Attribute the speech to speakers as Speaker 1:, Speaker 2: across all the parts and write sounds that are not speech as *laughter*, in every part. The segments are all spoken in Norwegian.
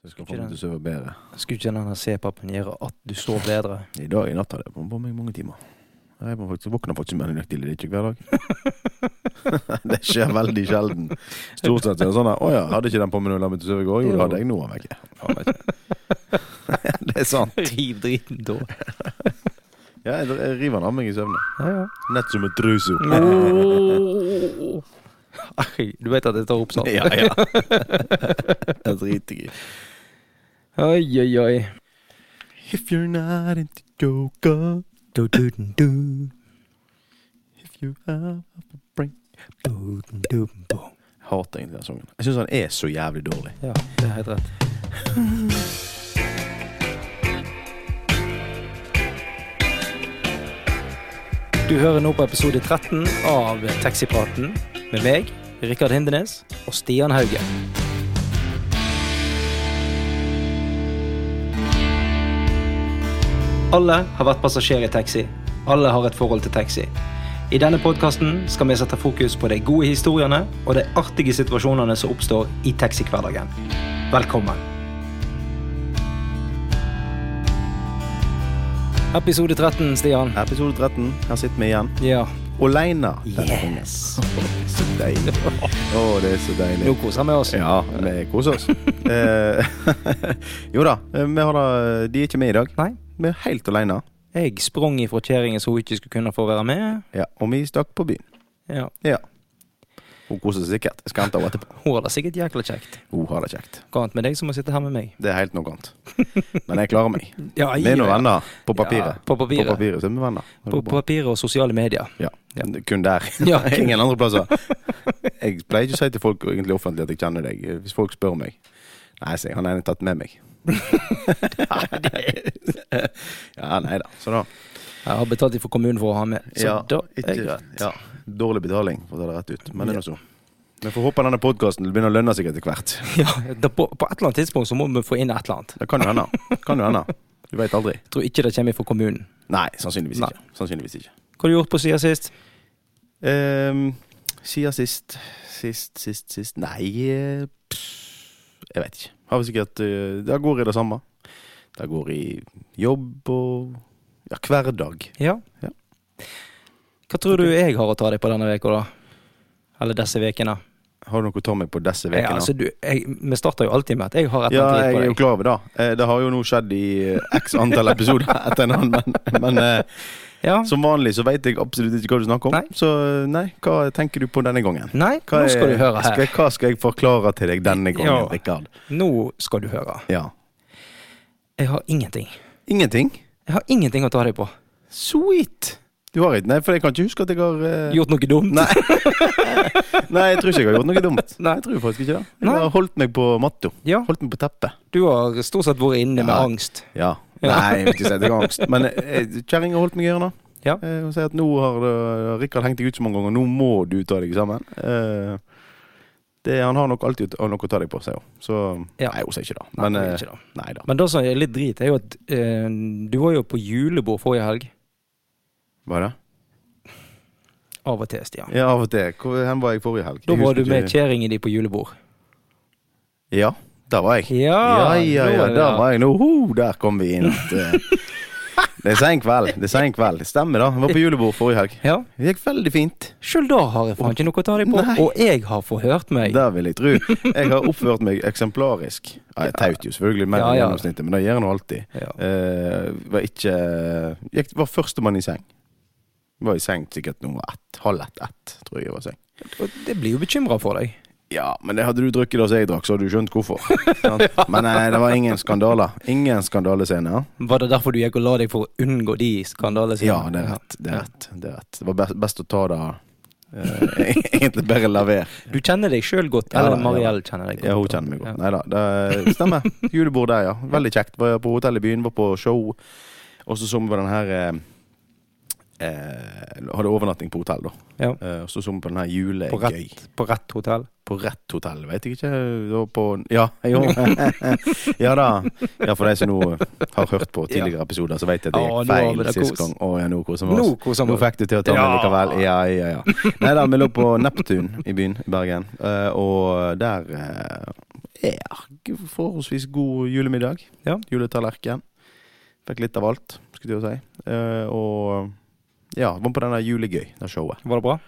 Speaker 1: Så jeg skal få meg til å sove bedre.
Speaker 2: Skulle ikke denne C-pappen gjøre at du sover bedre?
Speaker 1: I dag i natt hadde jeg på- på meg mange timer. Jeg må faktisk våkne faktisk mer nøyaktig, det er ikke hver dag. *laughs* *laughs* det skjer veldig sjelden. Stort sett er det sånn at 'Å ja, hadde ikke den på meg da jeg la meg til å sove i går?' Jo, det hadde jeg nå, han vekke. Faen ikke. *laughs* det er sant.
Speaker 2: Riv driten, da.
Speaker 1: Ja, jeg, jeg river den av meg i søvne.
Speaker 2: Ja, ja.
Speaker 1: Nett som et truso. *laughs*
Speaker 2: Åh. Ai, Du vet at jeg tar opp sånn?
Speaker 1: ja, *laughs* ja. Det driter jeg i.
Speaker 2: Oi, oi, oi.
Speaker 1: If you're not into yoga,
Speaker 2: Du, du, den, du.
Speaker 1: if you have a brain
Speaker 2: Du, den, du, du.
Speaker 1: Jeg hater egentlig den sangen. Jeg syns han er så jævlig dårlig.
Speaker 2: Ja, det er helt rett. Du hører nå på episode 13 av Taxipraten med meg, Rikard Hindenes og Stian Hauge. Alle har vært passasjer i taxi. Alle har et forhold til taxi. I denne podkasten skal vi sette fokus på de gode historiene og de artige situasjonene som oppstår i taxihverdagen. Velkommen. Episode 13, Stian.
Speaker 1: Episode 13. Her sitter vi igjen.
Speaker 2: Ja.
Speaker 1: Aleine.
Speaker 2: Yes.
Speaker 1: Så deilig. Å, det er så deilig.
Speaker 2: Nå koser vi oss.
Speaker 1: Ja, vi koser oss. Eh, *laughs* jo da, vi har da De er ikke med i dag.
Speaker 2: Nei.
Speaker 1: Vi er helt alene.
Speaker 2: Jeg sprang ifra kjerringen så hun ikke skulle kunne få være med.
Speaker 1: Ja, og vi stakk på byen.
Speaker 2: Ja.
Speaker 1: Ja. Hun koser seg sikkert. Jeg skal hente henne etterpå.
Speaker 2: Hun har det sikkert jækla kjekt.
Speaker 1: Hun har det kjekt.
Speaker 2: Hva annet med deg som må sitte her med meg?
Speaker 1: Det er helt noe annet. Men jeg klarer meg.
Speaker 2: Ja,
Speaker 1: Vi er nå venner på
Speaker 2: Ja,
Speaker 1: papiret.
Speaker 2: på papiret.
Speaker 1: På papiret så er vi venner. Det går
Speaker 2: På
Speaker 1: bra.
Speaker 2: papiret og sosiale medier.
Speaker 1: Ja. Kun der.
Speaker 2: *laughs* Ja.
Speaker 1: Ingen andre plasser. Jeg pleier ikke å si til folk egentlig offentlig at jeg kjenner deg. Hvis folk spør meg Nei, sier jeg, han er tatt med
Speaker 2: *laughs*
Speaker 1: meg. ja, nei da. Så da.
Speaker 2: Jeg har betalt for kommunen for å ha med, så
Speaker 1: Ja,
Speaker 2: da er det
Speaker 1: ikke-
Speaker 2: greit.
Speaker 1: Ja, dårlig betaling, for å ta det rett ut. Men det er nå så. Vi får håpe denne podkasten begynner å lønne seg etter hvert.
Speaker 2: *laughs* Ja, da på, på et eller annet tidspunkt så må vi få inn et eller annet.
Speaker 1: Det kan jo hende. Kan jo hende. Du veit aldri.
Speaker 2: Jeg tror ikke det kommer fra kommunen.
Speaker 1: Nei, sannsynligvis
Speaker 2: Nei.
Speaker 1: ikke. Sannsynligvis ikke.
Speaker 2: Hva har du gjort på siden sist?
Speaker 1: Ehm, siden sist Sist, sist, sist Nei eh, pff, Jeg vet ikke. Har vi sikkert eh, Det går i det samme. Det går i jobb og Ja, hverdag.
Speaker 2: Ja.
Speaker 1: Ja.
Speaker 2: Hva tror du jeg har å ta deg på denne veka da? Eller disse vekene?
Speaker 1: Har du noe å ta meg på disse
Speaker 2: Ja,
Speaker 1: ukene?
Speaker 2: altså, du, jeg, vi starter jo alltid med at jeg har et
Speaker 1: Ja,
Speaker 2: eller
Speaker 1: jeg er jo
Speaker 2: annet dritt på deg.
Speaker 1: klar over det. Eh, Det har jo nå skjedd i eh, x antall episoder *laughs* etter en annen, men, men eh,
Speaker 2: Ja.
Speaker 1: som vanlig så veit jeg absolutt ikke hva du snakker om.
Speaker 2: Nei.
Speaker 1: Så eh, nei, hva tenker du på denne gangen?
Speaker 2: Nei,
Speaker 1: Hva,
Speaker 2: nå skal
Speaker 1: er-
Speaker 2: du høre her.
Speaker 1: Skal, hva skal jeg forklare til deg denne gangen,
Speaker 2: Ja.
Speaker 1: Rikard?
Speaker 2: Nå skal du høre.
Speaker 1: Ja.
Speaker 2: Jeg har ingenting.
Speaker 1: Ingenting?
Speaker 2: Jeg har ingenting å ta deg på.
Speaker 1: Sweet! Du har ikke? Nei, for jeg kan ikke huske at jeg har eh,
Speaker 2: Gjort noe dumt?
Speaker 1: Nei. *laughs* Nei, jeg tror ikke jeg har gjort noe dumt.
Speaker 2: *laughs* Nei.
Speaker 1: Jeg tror faktisk ikke det.
Speaker 2: Nei.
Speaker 1: Jeg har holdt meg på matta.
Speaker 2: Ja,
Speaker 1: Holdt meg på teppet.
Speaker 2: du har stort sett vært inne med
Speaker 1: Ja.
Speaker 2: angst.
Speaker 1: Ja.
Speaker 2: Ja.
Speaker 1: Nei, jeg vil ikke si at jeg har angst. Men eh, kjerringa holdt meg i hjørnet.
Speaker 2: Ja.
Speaker 1: Eh, Hun sier at nå har eh, Rikard hengt deg ut så mange ganger, nå må du ta deg sammen. Eh, Det, han har nok alltid noe å ta deg på, sier hun. Så
Speaker 2: Ja.
Speaker 1: Nei, hun sier ikke det.
Speaker 2: Nei,
Speaker 1: Men
Speaker 2: det er
Speaker 1: eh,
Speaker 2: ikke det.
Speaker 1: nei da.
Speaker 2: Men det som er litt drit, er jo at eh, du var jo på julebord forrige helg.
Speaker 1: Var det?
Speaker 2: Av og til, Stian.
Speaker 1: Ja, av og til. Hvor hen var jeg forrige helg?
Speaker 2: Da
Speaker 1: Jeg
Speaker 2: var
Speaker 1: husker
Speaker 2: du med
Speaker 1: ikke.
Speaker 2: kjerringen din på julebord.
Speaker 1: Ja, der var jeg. Ja,
Speaker 2: Ja,
Speaker 1: ja,
Speaker 2: nå
Speaker 1: ja,
Speaker 2: er Ah, det
Speaker 1: der
Speaker 2: det.
Speaker 1: var jeg nå. Ho, der kom vi inn. Det
Speaker 2: *laughs*
Speaker 1: det er sein kveld. det er sen kveld. Stemmer, da. Jeg var på julebord forrige helg.
Speaker 2: Ja.
Speaker 1: Det gikk veldig fint.
Speaker 2: Sjøl da har jeg faen ikke noe å ta deg på.
Speaker 1: Nei.
Speaker 2: Og jeg har forhørt meg.
Speaker 1: Det vil jeg tro. Jeg har oppført meg eksemplarisk. Ja, jeg taut jo selvfølgelig mer
Speaker 2: Ja,
Speaker 1: enn
Speaker 2: ja.
Speaker 1: gjennomsnittet, men det gjør jeg nå alltid.
Speaker 2: Ja.
Speaker 1: Eh, var ikke Jeg var førstemann i seng. Var i seng sikkert noe ett, halv ett, ett, tror jeg jeg var i seng.
Speaker 2: Og det blir jo bekymra for deg.
Speaker 1: Ja, men det hadde du drukket da som jeg drakk, så hadde du skjønt
Speaker 2: *laughs*
Speaker 1: hvorfor. Sant? Men eh, det var ingen skandaler. Ingen skandalescener.
Speaker 2: Var det derfor du gikk og la deg for å unngå de skandalene?
Speaker 1: Ja, det er rett. Det er rett. Det, er rett. det var best, best å ta det eh, *laughs* Egentlig bare la være.
Speaker 2: Du kjenner deg sjøl godt.
Speaker 1: Ja,
Speaker 2: Eller
Speaker 1: da, ja,
Speaker 2: Mariell kjenner deg godt.
Speaker 1: Ja, hun kjenner meg godt.
Speaker 2: *laughs* Ja.
Speaker 1: Nei da, det stemmer. Julebord der, ja. Veldig kjekt. Var på hotell i byen, var på show. Og så så vi på den her eh, eh, Hadde overnatting på hotell, da.
Speaker 2: Ja.
Speaker 1: Eh, og så så vi på den her
Speaker 2: På
Speaker 1: julegøy.
Speaker 2: rett, på rett hotell.
Speaker 1: På rett hotell, vet jeg ikke. Det var på
Speaker 2: *laughs*
Speaker 1: Ja, jo. *laughs* ja da. Ja, for de som nå har hørt på tidligere episoder, så vet jeg at det
Speaker 2: Å, nå
Speaker 1: gikk
Speaker 2: har vi
Speaker 1: feil
Speaker 2: det
Speaker 1: sist
Speaker 2: kos.
Speaker 1: gang. Å ja, nå koser vi
Speaker 2: Nå
Speaker 1: oss.
Speaker 2: koser vi
Speaker 1: Nå
Speaker 2: oss.
Speaker 1: fikk du til å ta meg
Speaker 2: Ja.
Speaker 1: likevel. Ja, ja, ja. Nei da, vi lå på Neptun i byen i Bergen, eh, og der eh, ja, g- forholdsvis god julemiddag.
Speaker 2: Ja.
Speaker 1: Juletallerken. Fikk litt av alt, skulle jeg til å si. Eh, og ja, var på denne Julegøy, det showet.
Speaker 2: Var det bra?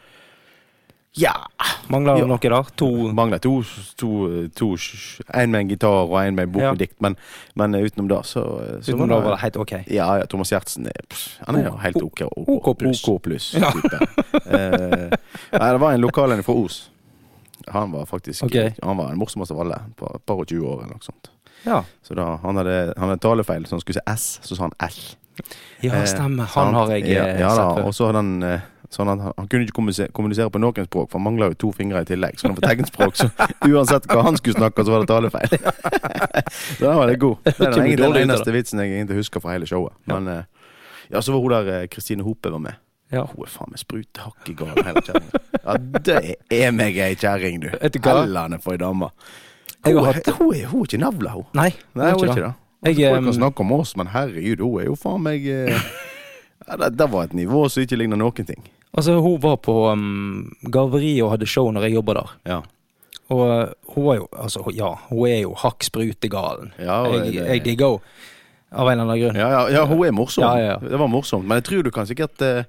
Speaker 1: Ja!
Speaker 2: Mangler
Speaker 1: Ja.
Speaker 2: det noe der? To
Speaker 1: Mangler to, to, to En med en gitar og en med en bok
Speaker 2: Ja.
Speaker 1: med dikt, men, men utenom sånn det, så, eh, så
Speaker 2: Utenom da var det helt ok.
Speaker 1: Ja, ja, Thomas Gjertsen er, pff, han er jo
Speaker 2: O-
Speaker 1: helt OK. OK,
Speaker 2: OK pluss.
Speaker 1: OK pluss
Speaker 2: Ja.
Speaker 1: type. Eh, nei, det var en lokal en fra Os. Han var faktisk
Speaker 2: Ok.
Speaker 1: Han var den morsomste av alle. Par, par og 20 år eller noe sånt.
Speaker 2: Ja,
Speaker 1: Så da, han, hadde, han hadde talefeil, så han skulle si S, så sa han L.
Speaker 2: ja
Speaker 1: Eh,
Speaker 2: stemmer.
Speaker 1: sant?
Speaker 2: Han har jeg
Speaker 1: ja,
Speaker 2: eh,
Speaker 1: ja,
Speaker 2: sett
Speaker 1: da,
Speaker 2: før.
Speaker 1: og så hadde han, eh, så han, han kunne ikke kommunisere, kommunisere på noen språk, for han mangla jo to fingre i tillegg. Så han var tegnspråk,
Speaker 2: *laughs*
Speaker 1: så uansett hva han skulle snakke, så var det talefeil. så den var litt god. Det er
Speaker 2: Det
Speaker 1: den, egentlig,
Speaker 2: blir dårlig ut
Speaker 1: den
Speaker 2: av
Speaker 1: eneste vitsen jeg egentlig husker fra hele showet.
Speaker 2: Ja.
Speaker 1: Men eh, ja, så var hun der eh, Kristine Hope var med.
Speaker 2: Ja.
Speaker 1: Hun er faen meg sprutehakk i gal, hele kjerringa. Ja, det er meg ei kjerring, du.
Speaker 2: Vet du hva?
Speaker 1: Hellene for ei dame.
Speaker 2: Jeg
Speaker 1: Hun,
Speaker 2: har
Speaker 1: er-
Speaker 2: hatt-
Speaker 1: hun, er- hun er ikke navla, hun.
Speaker 2: Nei,
Speaker 1: Nei, hun er ikke
Speaker 2: det.
Speaker 1: det.
Speaker 2: Jeg,
Speaker 1: Folk kan
Speaker 2: eh,
Speaker 1: snakke om oss, men herregud, hun er jo faen meg eh,
Speaker 2: *laughs*
Speaker 1: ja, det, det var et nivå som ikke ligner noen ting.
Speaker 2: altså, hun var på um, garveriet og hadde show når jeg jobba der.
Speaker 1: Ja.
Speaker 2: Og eh, hun er jo Altså, hun- ja, hun er jo hakk sprutegalen.
Speaker 1: Ja, og
Speaker 2: Jeg,
Speaker 1: det-
Speaker 2: jeg digger henne. Av en eller annen grunn.
Speaker 1: Ja, ja, ja, hun er morsom.
Speaker 2: Ja, ja, ja.
Speaker 1: Det var morsomt. Men jeg tror du kan sikkert eh,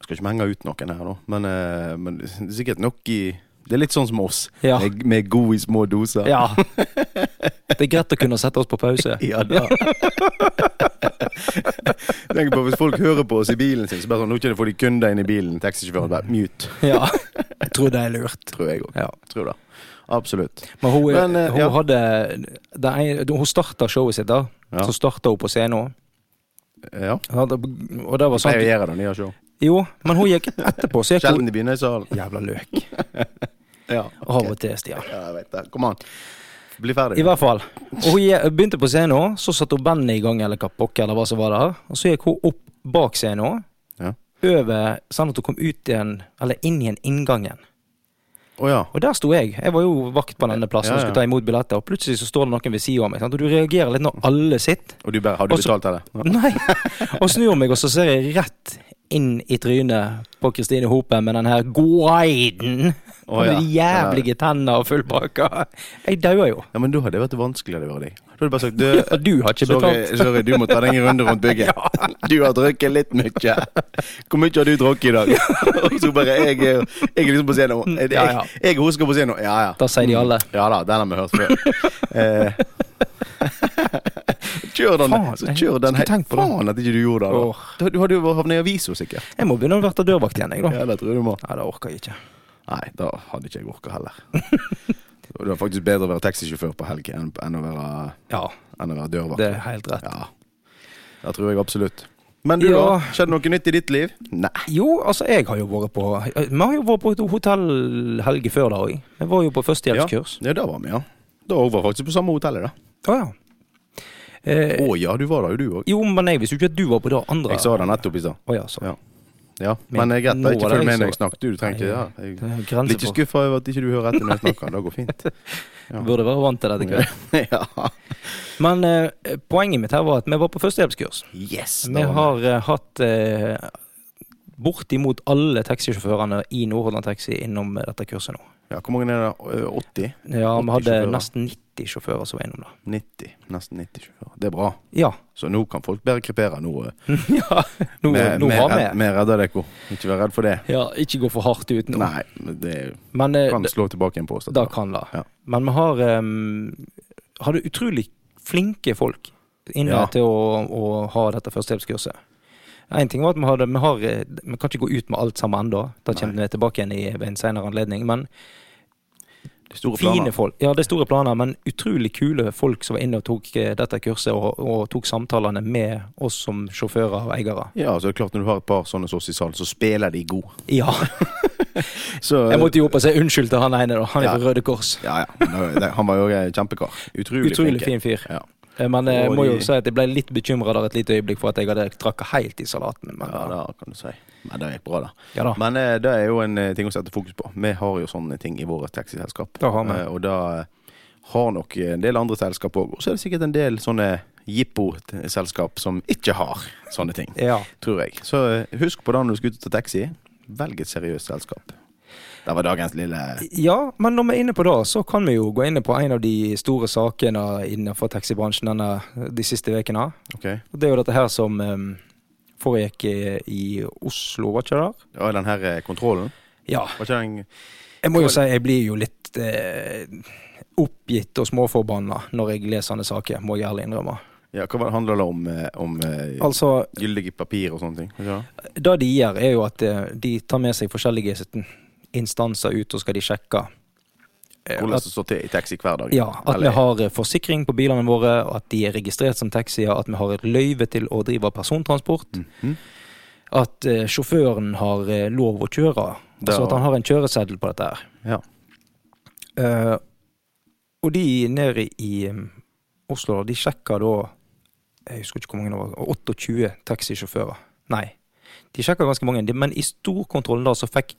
Speaker 1: Jeg skal ikke menge ut noen her, nå, men, eh, men det er sikkert nok i Det er litt sånn som oss.
Speaker 2: Ja.
Speaker 1: Med, med god i små doser.
Speaker 2: Ja. Det er greit å kunne sette oss på pause.
Speaker 1: *laughs* Ja da. Tenk på Hvis folk hører på oss i bilen sin, så bare sånn, nå ikke får de kunder inn i bilen. Taxisjåføren bare mute,
Speaker 2: Ja. Jeg tror det er lurt.
Speaker 1: tror jeg òg.
Speaker 2: Ja.
Speaker 1: Tror det. Absolutt.
Speaker 2: Men hun,
Speaker 1: Men, eh,
Speaker 2: hun
Speaker 1: ja.
Speaker 2: hadde det ene- Hun starta showet sitt, da.
Speaker 1: Ja.
Speaker 2: Så starta hun på scenen.
Speaker 1: Ja.
Speaker 2: Og det var
Speaker 1: Sånn. Jeg
Speaker 2: sånn
Speaker 1: gjør det når jeg har show.
Speaker 2: Jo, men hun gikk etterpå, så gikk hun
Speaker 1: Sjelden de begynner i salen.
Speaker 2: Jævla løk.
Speaker 1: Ja,
Speaker 2: Av og til, Stian.
Speaker 1: ja, jeg vet det. Kom an. Bli ferdig.
Speaker 2: I hvert fall. Og hun je- begynte på scenen, så satte hun bandet i gang, eller hva pokker eller hva som var der. Og så gikk hun opp bak scenen,
Speaker 1: Ja.
Speaker 2: over, sånn at hun kom ut igjen, eller inn igjen inngangen.
Speaker 1: Å ja.
Speaker 2: Og der sto jeg. Jeg var jo vakt på denne plassen
Speaker 1: Ja,
Speaker 2: og
Speaker 1: ja.
Speaker 2: skulle ta imot billetter, og plutselig så står det noen ved siden av meg. Sant? Og du reagerer litt når alle sitter.
Speaker 1: Og du bare Har du
Speaker 2: Også-
Speaker 1: betalt til det?
Speaker 2: *laughs* Nei. Og snur meg, og så ser jeg rett inn i trynet på Kristine Hope med den her guiden.
Speaker 1: Å,
Speaker 2: Og med
Speaker 1: ja.
Speaker 2: de jævlige tenner og full pakke. Jeg dauer jo.
Speaker 1: Ja, men da hadde det vært vanskeligere å være deg. Da hadde du bare sagt du,
Speaker 2: Og du har ikke
Speaker 1: sorry,
Speaker 2: betalt.
Speaker 1: sorry, du må ta deg en runde rundt
Speaker 2: *laughs*
Speaker 1: bygget. Du har drukket litt mye. Hvor mye har du drukket i dag? *laughs* Og så bare Jeg, er- jeg er liksom på scenen. nå. Jeg,
Speaker 2: Mm, Ja, ja.
Speaker 1: jeg, jeg husker på scenen. nå. Ja, ja.
Speaker 2: Da sier de alle.
Speaker 1: Ja da, den har vi hørt før. Eh, *laughs* kjør den.
Speaker 2: Faen,
Speaker 1: så
Speaker 2: jeg
Speaker 1: kjør den.
Speaker 2: skulle tenkt på det.
Speaker 1: Faen at ikke du gjorde det. da.
Speaker 2: Åh.
Speaker 1: Da. Du hadde jo havnet i avisa sikkert.
Speaker 2: Jeg må begynne å være dørvakt igjen, jeg, da.
Speaker 1: Ja, det tror jeg du må.
Speaker 2: Nei, det orker jeg ikke.
Speaker 1: Nei, da hadde ikke jeg orka heller. *laughs* Og det var faktisk bedre å være taxisjåfør på helg enn, enn å være,
Speaker 2: Ja,
Speaker 1: enn å være dørvakt.
Speaker 2: det er helt rett.
Speaker 1: Ja, det tror jeg absolutt. Men du,
Speaker 2: Ja.
Speaker 1: da? Skjedde noe nytt i ditt liv? Nei.
Speaker 2: Jo, altså, jeg har jo vært på Vi har jo vært på et hotell helge før da òg. Vi var jo på førstehjelpskurs.
Speaker 1: Ja, da var vi, ja. Da var vi faktisk på samme hotellet, da.
Speaker 2: Å ja. Eh,
Speaker 1: Å ja, du var der jo, du òg.
Speaker 2: jo, men jeg visste jo ikke at du var på det andre.
Speaker 1: Jeg sa det nettopp i stad.
Speaker 2: Å ja, så.
Speaker 1: Ja. Ja, men jeg
Speaker 2: Nå
Speaker 1: retter ikke
Speaker 2: var det
Speaker 1: følg
Speaker 2: jeg
Speaker 1: med
Speaker 2: som-
Speaker 1: når jeg snakker. Du, du trenger ikke ja.
Speaker 2: Det
Speaker 1: jeg,
Speaker 2: er grenser
Speaker 1: Litt
Speaker 2: for-
Speaker 1: skuffa over at ikke du hører etter når jeg snakker. Det går *laughs* fint. Ja.
Speaker 2: Burde være vant til dette.
Speaker 1: *laughs*
Speaker 2: Kurt.
Speaker 1: ja.
Speaker 2: Men eh, poenget mitt her var at vi var på førstehjelpskurs.
Speaker 1: Yes!
Speaker 2: Vi har eh, hatt eh, bortimot alle taxisjåførene i Nordhordland Taxi innom eh, dette kurset nå.
Speaker 1: ja, hvor mange er det? da? eh, 80?
Speaker 2: Ja,
Speaker 1: 80
Speaker 2: Vi hadde
Speaker 1: sjåfører.
Speaker 2: nesten 90 sjåfører som var innom det.
Speaker 1: 90? Nesten 90 sjåfører. Det er bra.
Speaker 2: Ja. *laughs*
Speaker 1: Så nå kan folk bare krepere. Nå, eh,
Speaker 2: ja. Nå,
Speaker 1: vi-
Speaker 2: nå
Speaker 1: vi
Speaker 2: har
Speaker 1: redd-
Speaker 2: vi
Speaker 1: vi redder dere. Ikke vær redd for det.
Speaker 2: ja, Ikke gå for hardt ut nå.
Speaker 1: Nei, men det
Speaker 2: Men eh,
Speaker 1: kan
Speaker 2: d-
Speaker 1: slå tilbake igjen på oss. dette
Speaker 2: da
Speaker 1: her.
Speaker 2: kan det.
Speaker 1: Ja.
Speaker 2: Men vi har um, hadde utrolig flinke folk inne
Speaker 1: Ja.
Speaker 2: til å, å ha dette førstehjelpskurset. En ting var at vi, hadde, vi, har, eh, vi kan ikke gå ut med alt sammen ennå. Da kommer
Speaker 1: Nei.
Speaker 2: vi tilbake igjen i, ved en senere anledning. Men
Speaker 1: Det er Store
Speaker 2: fine
Speaker 1: planer.
Speaker 2: folk. Ja, det er store planer, men utrolig kule folk som var inne og tok eh, dette kurset, og, og tok samtalene med oss som sjåfører og eiere.
Speaker 1: Ja, så er det klart Når du har et par sånne som oss i salen, så spiller de god.
Speaker 2: Ja.
Speaker 1: Så,
Speaker 2: Jeg måtte jo opp og si unnskyld til han ene, da. Han er
Speaker 1: Ja.
Speaker 2: fra Røde Kors.
Speaker 1: Ja, ja. men det- det- Han var jo en kjempekar. Utrolig,
Speaker 2: Utrolig
Speaker 1: flinke.
Speaker 2: fin fyr.
Speaker 1: Ja.
Speaker 2: Eh, Men eh, jeg
Speaker 1: Og
Speaker 2: må jo
Speaker 1: de-
Speaker 2: si at jeg ble litt bekymra der et lite øyeblikk for at jeg hadde trakka helt i salaten. Men, ja, da.
Speaker 1: Ja, det kan du si. Men det gikk bra, da.
Speaker 2: Ja, da.
Speaker 1: Men eh, det er jo en eh, ting å sette fokus på. Vi har jo sånne ting i våre taxiselskap.
Speaker 2: Det har vi.
Speaker 1: Eh, og da har nok en del andre selskap òg. Og så er det sikkert en del sånne jippo-selskap som ikke har sånne ting.
Speaker 2: ja.
Speaker 1: tror jeg. Så eh, husk på det når du skal ut og ta taxi. Velg et seriøst selskap. Det var dagens lille
Speaker 2: Ja, men når vi er inne på det, så kan vi jo gå inn på en av de store sakene innenfor taxibransjen denne, de siste ukene.
Speaker 1: Ok.
Speaker 2: Og Det er jo dette her som em, foregikk i, i Oslo, var ikke det der?
Speaker 1: Ja, den her eh, kontrollen.
Speaker 2: Ja.
Speaker 1: Var ikke den
Speaker 2: Jeg må jo si jeg blir jo litt eh, oppgitt og småforbanna når jeg leser sånne saker, må jeg ærlig innrømme.
Speaker 1: Ja, hva var det handla det om? eh, om eh,
Speaker 2: Altså,
Speaker 1: gyldige papir og sånne ting? Var ikke det?
Speaker 2: det de gjør, er jo at eh, de tar med seg forskjellige instanser ut, og skal de sjekke. eh,
Speaker 1: Hvordan
Speaker 2: at-
Speaker 1: det står til i taxi hver dag?
Speaker 2: Ja, at vi
Speaker 1: Eller-
Speaker 2: har eh, forsikring på bilene våre, at de er registrert som taxier, at vi har et løyve til å drive persontransport,
Speaker 1: Mhm.
Speaker 2: at eh, sjåføren har eh, lov å kjøre,
Speaker 1: Det
Speaker 2: altså at
Speaker 1: har-
Speaker 2: han har en kjøreseddel på dette her.
Speaker 1: Ja.
Speaker 2: Eh, og de nede i eh, Oslo, de sjekker da Jeg husker ikke hvor mange det var, 28 taxisjåfører. Nei, de sjekker ganske mange, de- men i storkontrollen da så fikk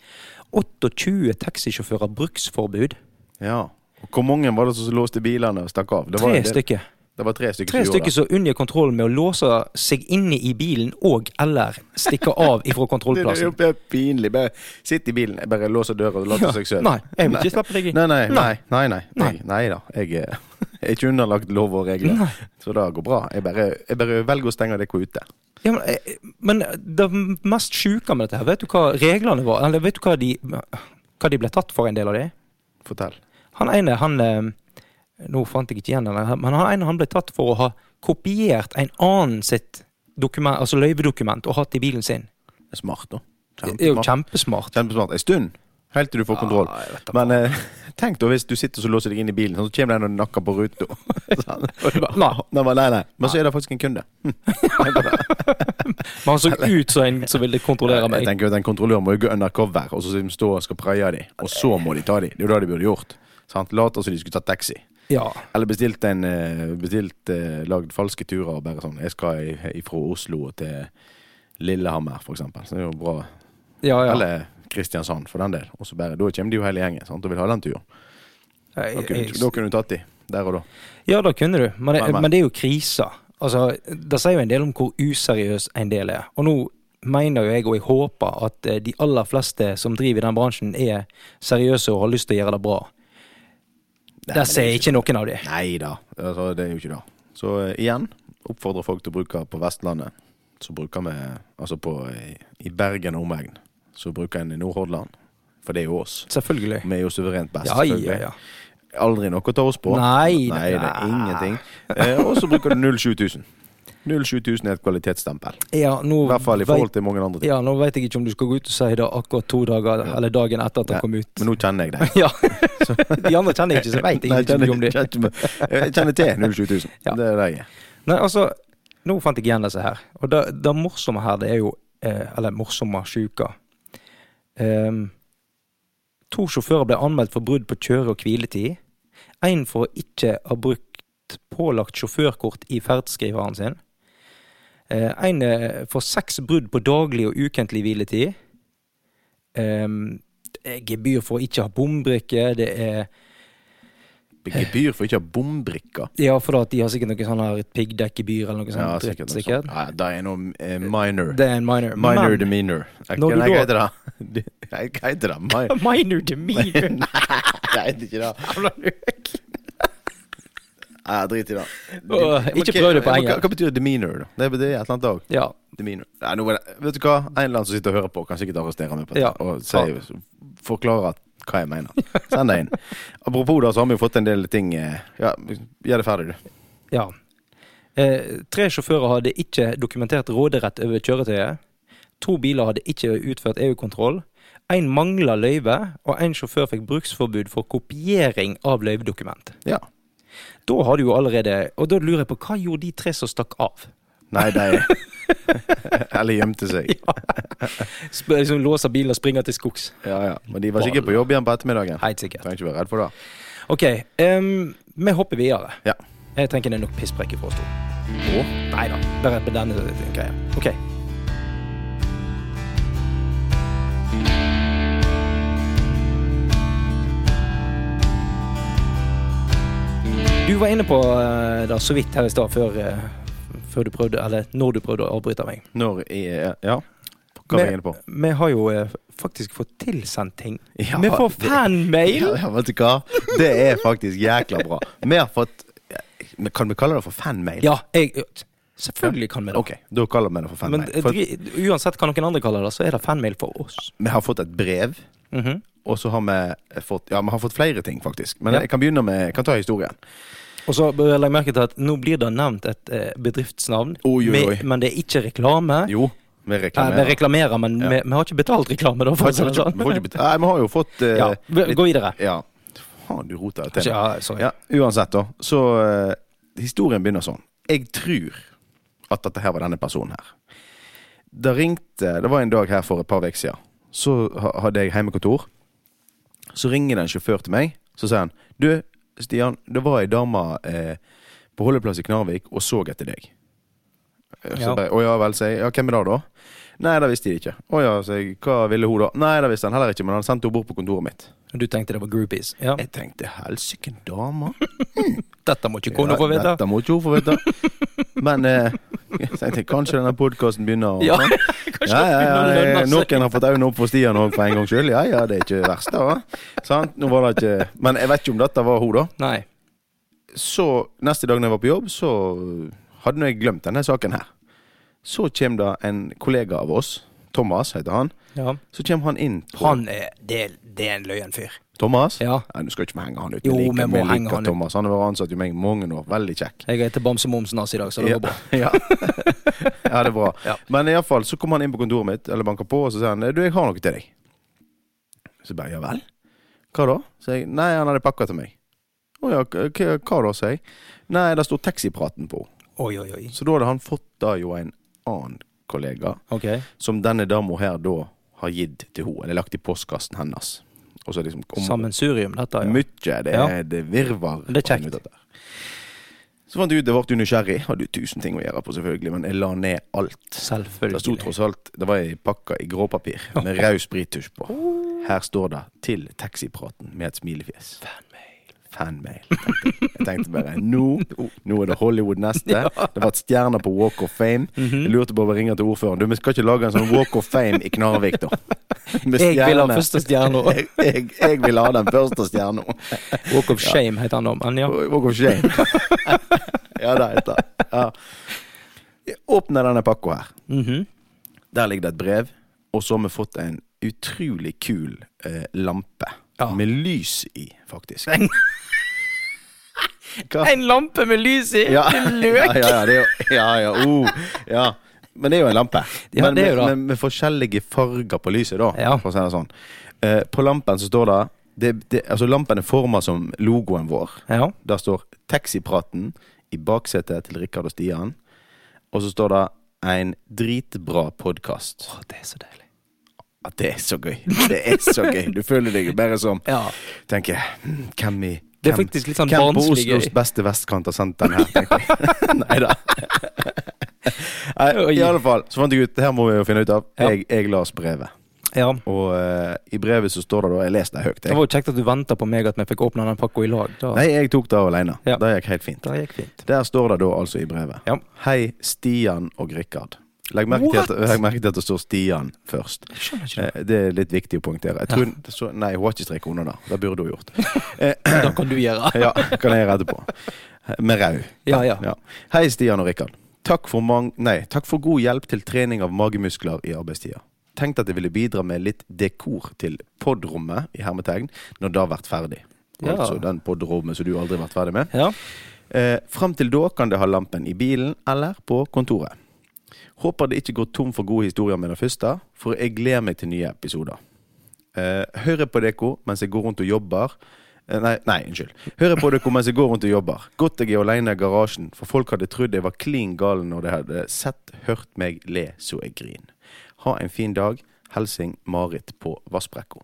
Speaker 2: 28 taxisjåfører bruksforbud.
Speaker 1: ja. Og hvor mange var det som låste bilene og stakk av? Det var,
Speaker 2: Tre
Speaker 1: en del-
Speaker 2: stykker.
Speaker 1: Det var tre stykker
Speaker 2: Tre
Speaker 1: som gjorde
Speaker 2: stykker som unngikk kontrollen med å låse seg inne i bilen og eller stikke
Speaker 1: *laughs* det.
Speaker 2: av ifra
Speaker 1: Det er jo
Speaker 2: kontrollplassen.
Speaker 1: bare pinlig. Bare sitt i bilen, bare låse døra og låse
Speaker 2: Ja,
Speaker 1: seg selv.
Speaker 2: Nei, jeg vil ikke slippe deg inn.
Speaker 1: Nei, nei, nei. nei, nei.
Speaker 2: Nei.
Speaker 1: Jeg, nei da. Jeg er *laughs* jeg er ikke underlagt lov og regler,
Speaker 2: Nei.
Speaker 1: så det går bra. Jeg bare, jeg bare velger å stenge dere ute.
Speaker 2: Ja, men, eh, men det mest sjuke med dette her, vet du hva reglene var? Eller vet du hva de, hva de ble tatt for, en del av de?
Speaker 1: Fortell.
Speaker 2: Han ene, han eh, Nå fant jeg ikke igjen den, her, men han ene han ble tatt for å ha kopiert en annen sitt dokument, altså løyvedokument, og hatt i bilen sin.
Speaker 1: Det er Smart, da.
Speaker 2: Det er jo
Speaker 1: Kjempesmart.
Speaker 2: kjempesmart.
Speaker 1: Kjempesmart. En stund, helt til du får kontroll.
Speaker 2: Ja, jeg vet da
Speaker 1: Men eh, *laughs* tenk da hvis du sitter og så låser deg inn i bilen, sånn, så kommer det en og nakker på ruta. *laughs* Sånn. Og du bare,
Speaker 2: Nei.
Speaker 1: *laughs* Nei, bare, nei, nei. Men så er det faktisk en kunde.
Speaker 2: *laughs*
Speaker 1: Hm. Tenk på det.
Speaker 2: Men han så ut som en som ville kontrollere
Speaker 1: Jeg
Speaker 2: meg.
Speaker 1: tenker at En kontrollør må jo gå undercover, og så stå og skal praie dem. Og så må de ta dem. Det er jo det de burde gjort. Sant? Later som de skulle tatt taxi.
Speaker 2: Ja.
Speaker 1: Eller bestilt en eh, bestilt, eh, lagd falske turer og bare sånn Jeg skal i- ifra Oslo til Lillehammer, for eksempel. Så det er jo bra.
Speaker 2: ja, ja.
Speaker 1: Eller Kristiansand, for den del. Og så bare, Da kommer de jo hele gjengen sant? og vil ha den turen.
Speaker 2: Jeg-
Speaker 1: Da kunne,
Speaker 2: jeg-
Speaker 1: da kunne du tatt de der og da.
Speaker 2: Ja, det kunne du, men det,
Speaker 1: Men, men.
Speaker 2: men. det er jo krisa. Altså, det sier jo en del om hvor useriøs en del er. Og nå mener jo jeg, og jeg håper, at eh, de aller fleste som driver i den bransjen, er seriøse og har lyst til å gjøre det bra.
Speaker 1: Nei,
Speaker 2: Der
Speaker 1: men
Speaker 2: ser jeg ikke noen av de.
Speaker 1: Nei da, altså, det er jo ikke det. Så eh, igjen, oppfordrer folk til å bruke på Vestlandet. Så bruker vi altså på i, i Bergen og omegn. Så bruker en i Nordhordland. For det er jo oss.
Speaker 2: Selvfølgelig.
Speaker 1: Vi er jo suverent best.
Speaker 2: Ja, ja,
Speaker 1: selvfølgelig.
Speaker 2: ja.
Speaker 1: Aldri noe å ta oss på.
Speaker 2: Nei,
Speaker 1: Nei det
Speaker 2: nei.
Speaker 1: er ingenting. Eh, og så bruker du 07000. 07000 er et kvalitetsstempel.
Speaker 2: ja nå
Speaker 1: I hvert fall i
Speaker 2: vet-
Speaker 1: forhold til mange andre ting.
Speaker 2: Ja, nå vet jeg ikke om du skal gå ut og si det akkurat to dager, eller dagen etter at den
Speaker 1: Ja,
Speaker 2: kom ut.
Speaker 1: Men nå kjenner jeg deg.
Speaker 2: Ja. De andre kjenner jeg ikke, så jeg
Speaker 1: *laughs*
Speaker 2: vet
Speaker 1: Nei,
Speaker 2: ikke
Speaker 1: kjenner-
Speaker 2: mye om de.
Speaker 1: kjenner- Jeg kjenner til 07000.
Speaker 2: Ja.
Speaker 1: Det er det jeg er.
Speaker 2: Nei, altså, nå fant jeg igjen disse her. Og det, det morsomme her, det er jo eh, Eller morsomme sjuka. Ehm, to sjåfører ble anmeldt for brudd på kjøre- og hviletid. Én for å ikke ha brukt pålagt sjåførkort i ferdskriveren sin. Én for seks brudd på daglig og ukentlig hviletid. Ehm, det er gebyr for å ikke ha bombrikke. Det er
Speaker 1: Gebyr for ikke å ha bombrikker.
Speaker 2: Ja, for at de har sikkert noe sånn her piggdekkgebyr eller noe sånt.
Speaker 1: Ja,
Speaker 2: dritt,
Speaker 1: sikkert. noe sånt. Ja, det er noe eh, minor.
Speaker 2: Det er en minor.
Speaker 1: Minor
Speaker 2: Men-
Speaker 1: demeanor. Hva
Speaker 2: Når du
Speaker 1: hva
Speaker 2: da-
Speaker 1: heter det? Hva heter det?
Speaker 2: *laughs*
Speaker 1: Minor?
Speaker 2: minor demeanor. *laughs*
Speaker 1: Nei, det er ikke det. Nei, drit i det.
Speaker 2: Åh,
Speaker 1: Men
Speaker 2: ikke
Speaker 1: hva-
Speaker 2: prøv det på
Speaker 1: men
Speaker 2: engelsk.
Speaker 1: Hva, hva betyr demeanor? da? Det er, det er et eller annet dag.
Speaker 2: ja.
Speaker 1: Demeanor. Nei, nå er det, vet du hva? En eller annen som sitter og hører på, kan sikkert arrestere meg på det.
Speaker 2: Ja.
Speaker 1: Og si, forklare hva jeg mener. Send det inn. Apropos det, så har vi jo fått en del ting eh, Ja, gjør det ferdig, du.
Speaker 2: ja. Eh, tre sjåfører hadde ikke dokumentert råderett over kjøretøyet. To biler hadde ikke utført EU-kontroll. Én mangla løyve, og én sjåfør fikk bruksforbud for kopiering av løyvedokument.
Speaker 1: Ja.
Speaker 2: Da har du jo allerede Og da lurer jeg på, hva gjorde de tre som stakk *laughs* av?
Speaker 1: Nei, de *laughs* Eller gjemte seg.
Speaker 2: Sp liksom Låser bilen og springer til skogs.
Speaker 1: Ja, ja. Men de var sikkert på jobb igjen på ettermiddagen.
Speaker 2: Helt sikkert.
Speaker 1: Trenger ikke være redd for det.
Speaker 2: OK, ehm, vi hopper videre.
Speaker 1: Ja.
Speaker 2: Jeg tenker det er nok pisspreik for oss to. Nei da, bare på denne greia. Ok. Du var inne på eh, det så vidt her i stad før, eh, før du prøvde, eller når du prøvde å avbryte meg.
Speaker 1: Når i Ja. kan ringe på.
Speaker 2: Vi har jo eh, faktisk fått tilsendt ting.
Speaker 1: Ja,
Speaker 2: vi får
Speaker 1: det-
Speaker 2: fanmail!
Speaker 1: Ja, ja, vet du hva? Det er faktisk jækla bra. Vi har fått men Kan vi kalle det for fanmail?
Speaker 2: Ja, jeg Selvfølgelig kan vi det.
Speaker 1: Ok, da kaller vi det for
Speaker 2: Men
Speaker 1: fanmail.
Speaker 2: eh,
Speaker 1: For
Speaker 2: dri, uansett hva noen andre kaller det, så er det fanmail for oss.
Speaker 1: vi har fått et brev,
Speaker 2: Mhm.
Speaker 1: og så har vi fått Ja, vi har fått flere ting, faktisk. Men
Speaker 2: Ja.
Speaker 1: jeg kan begynne med Jeg kan ta historien.
Speaker 2: Og så bør jeg legge merke til at nå blir det nevnt et eh, bedriftsnavn,
Speaker 1: Oi, oi,
Speaker 2: men-
Speaker 1: oi.
Speaker 2: men det er ikke reklame.
Speaker 1: Jo, vi
Speaker 2: Nei,
Speaker 1: reklamerer.
Speaker 2: vi reklamerer, men
Speaker 1: Ja.
Speaker 2: vi, vi har ikke betalt reklame, da.
Speaker 1: Vi
Speaker 2: For
Speaker 1: har
Speaker 2: å si det
Speaker 1: ikke-
Speaker 2: sånn.
Speaker 1: vi har ikke betalt- Nei, vi har jo fått eh,
Speaker 2: Ja, vi-
Speaker 1: litt-
Speaker 2: Gå videre.
Speaker 1: Ja. Faen, du roter det til.
Speaker 2: Ja, sorry.
Speaker 1: Ja, uansett, da. Så eh, historien begynner sånn. Jeg tror at dette her var denne personen her. Det ringte Det var en dag her for et par uker siden. Så ha- hadde jeg hjemmekontor. Så ringer det en sjåfør til meg. Så sier han Du, Stian, det var ei dame eh, på holdeplass i Knarvik og så etter deg. Eh, Så
Speaker 2: Ja.
Speaker 1: bare, Å ja vel, sier jeg. Ja, hvem er det da? Nei, det visste de ikke. Å ja, sier jeg. Hva ville hun da? Nei, det visste han heller ikke, men han sendte henne bort på kontoret mitt.
Speaker 2: Du tenkte det var groupies. Ja.
Speaker 1: Jeg tenkte helsike, dame.
Speaker 2: Eh, Dette må ikke kona få vite.
Speaker 1: Dette må ikke hun få vite.
Speaker 2: *laughs*
Speaker 1: Men eh, jeg tenkte kanskje denne podkasten begynner å ja, ja,
Speaker 2: *laughs* Ja,
Speaker 1: ja,
Speaker 2: begynner det å
Speaker 1: ja,
Speaker 2: lønne seg.
Speaker 1: Noen har fått øynene opp for Stian òg, for en gangs skyld. Ja, ja, det er ikke verst, da. va? Sant? Nå var det ikke Men jeg vet ikke om dette var hun, da.
Speaker 2: Nei.
Speaker 1: Så neste dag når jeg var på jobb, så hadde nå jeg glemt denne saken her. Så kommer det en kollega av oss, Thomas heter han.
Speaker 2: Ja.
Speaker 1: Så kommer han inn på
Speaker 2: Han er det, det er en løyen fyr.
Speaker 1: Thomas?
Speaker 2: Ja.
Speaker 1: Nei, du skal ikke henge han ut.
Speaker 2: Jo,
Speaker 1: Jeg liker-
Speaker 2: vi må
Speaker 1: jeg liker
Speaker 2: henge han ut.
Speaker 1: Thomas. Han har vært ansatt i meg i mange år. Veldig kjekk.
Speaker 2: Jeg heter Bamse Momsen hans i dag, så det
Speaker 1: ja.
Speaker 2: går bra.
Speaker 1: ja. *laughs* ja, det er bra.
Speaker 2: Ja.
Speaker 1: Men iallfall så kom han inn på kontoret mitt Eller banka på, og så sier han Du, jeg har noe til deg. Så bare ja vel? Hva da? Så jeg nei, han hadde pakka til meg. Å ja, k- k- hva da, sier jeg. Nei, det står taxipraten på.
Speaker 2: Oi, oi, oi.
Speaker 1: Så da hadde han fått da jo en annen kollega,
Speaker 2: Ok.
Speaker 1: som denne dama her da har gitt til henne, eller lagt i postkassen hennes. Og så liksom om-
Speaker 2: Sammensurium, dette. Ja.
Speaker 1: Mye. Det er
Speaker 2: Ja.
Speaker 1: det virvar.
Speaker 2: Det er
Speaker 1: å
Speaker 2: kjekt.
Speaker 1: finne ut av dette. Så fant jeg ut, det ble jo nysgjerrig. Hadde jo tusen ting å gjøre på, selvfølgelig, men jeg la ned alt. Det sto
Speaker 2: Selvfølgelig.
Speaker 1: tross alt Det var ei pakke i gråpapir
Speaker 2: *laughs*
Speaker 1: med rød sprittusj på. Her står det 'Til taxipraten' med et smilefjes.
Speaker 2: Fanmail.
Speaker 1: Fanmail. tenkte Jeg Jeg tenkte bare nå, nå er det Hollywood
Speaker 2: *laughs*
Speaker 1: neste. Det var et stjerne på Walk of Fame.
Speaker 2: Mhm.
Speaker 1: Jeg lurte på å ringe til ordføreren. Du, vi skal ikke lage en sånn Walk of Fame i Knarvik,
Speaker 2: *laughs*
Speaker 1: da. Med
Speaker 2: Jeg vil ha
Speaker 1: stjerne.
Speaker 2: første *laughs* stjerne.
Speaker 1: *laughs* Jeg, jeg, jeg vil ha den første stjerna.
Speaker 2: Walk of Shame heter han da. Men ja.
Speaker 1: Walk of shame. *laughs* ja, det heter det. Ja. Åpne denne pakka her.
Speaker 2: Mhm.
Speaker 1: Der ligger det et brev. Og så har vi fått en utrolig kul eh, lampe.
Speaker 2: Ja.
Speaker 1: Med lys i, faktisk. Hva?
Speaker 2: En lampe med lys i!
Speaker 1: Ja. Ja,
Speaker 2: Til løk!
Speaker 1: ja, ja, det er jo, ja, ja, oh, ja. Men det er jo en lampe.
Speaker 2: Ja,
Speaker 1: men,
Speaker 2: det er jo
Speaker 1: med-
Speaker 2: det.
Speaker 1: men med forskjellige farger på lyset, da.
Speaker 2: Ja.
Speaker 1: For å si det sånn. Eh, på lampen så står det, det, det Altså, lampen er forma som logoen vår.
Speaker 2: Ja.
Speaker 1: Der står 'Taxipraten' i baksetet til Rikard og Stian. Og så står det 'En dritbra podkast'.
Speaker 2: Å, det er så deilig.
Speaker 1: Det er så gøy. Det er så gøy. Du føler deg bare som
Speaker 2: Ja.
Speaker 1: Tenker hm, Hvem i
Speaker 2: Det er
Speaker 1: hvem-
Speaker 2: faktisk litt sånn
Speaker 1: Hvem på
Speaker 2: barnslig
Speaker 1: Oslos
Speaker 2: gøy.
Speaker 1: beste vestkant har sendt den her? tenker jeg. *laughs* Nei da. Nei, I
Speaker 2: *laughs* Oi.
Speaker 1: alle fall, så fant jeg ut Det her må vi jo finne ut av.
Speaker 2: Ja.
Speaker 1: Jeg, jeg las brevet.
Speaker 2: Ja.
Speaker 1: Og eh, i brevet så står det da Jeg leste det høyt.
Speaker 2: Det
Speaker 1: Jeg.
Speaker 2: var jo kjekt at du venta på meg at vi fikk åpna den pakka i lag. Da.
Speaker 1: Nei, jeg tok det alene.
Speaker 2: Ja.
Speaker 1: Det gikk helt fint.
Speaker 2: Det gikk fint.
Speaker 1: Der står det da altså i brevet.
Speaker 2: Ja.
Speaker 1: Hei, Stian og Rikard. Legg merke, til at,
Speaker 2: What?
Speaker 1: legg merke til at det står Stian først.
Speaker 2: Jeg skjønner ikke det.
Speaker 1: Eh, Det er litt viktig å poengtere. Jeg tror hun, så, nei, hun har ikke streket under det. Det burde hun gjort.
Speaker 2: *laughs* Det kan du gjøre.
Speaker 1: Ja, kan jeg gjøre etterpå. Med rau.
Speaker 2: Ja, ja.
Speaker 1: Ja. Hei, Stian og Rikard. Takk for, mang nei, takk for god hjelp til trening av magemuskler i arbeidstida. Tenkte at jeg ville bidra med litt dekor til podrommet i hermetegn når det har vært ferdig.
Speaker 2: Ja.
Speaker 1: Altså den podrommet som du aldri har vært ferdig med.
Speaker 2: Ja.
Speaker 1: Eh, Fram til da kan det ha lampen i bilen eller på kontoret. Håper det ikke går tom for gode historier med det første, for jeg gleder meg til nye episoder. Eh, hører på dere mens jeg går rundt og jobber. Eh, Nei, nei, unnskyld. Hører på dere mens jeg går rundt og jobber. Godt jeg er aleine i garasjen, for folk hadde trodd jeg var klin gal når de hadde sett, hørt meg le så jeg grin. Ha en fin dag. Helsing Marit på Vassbrekka.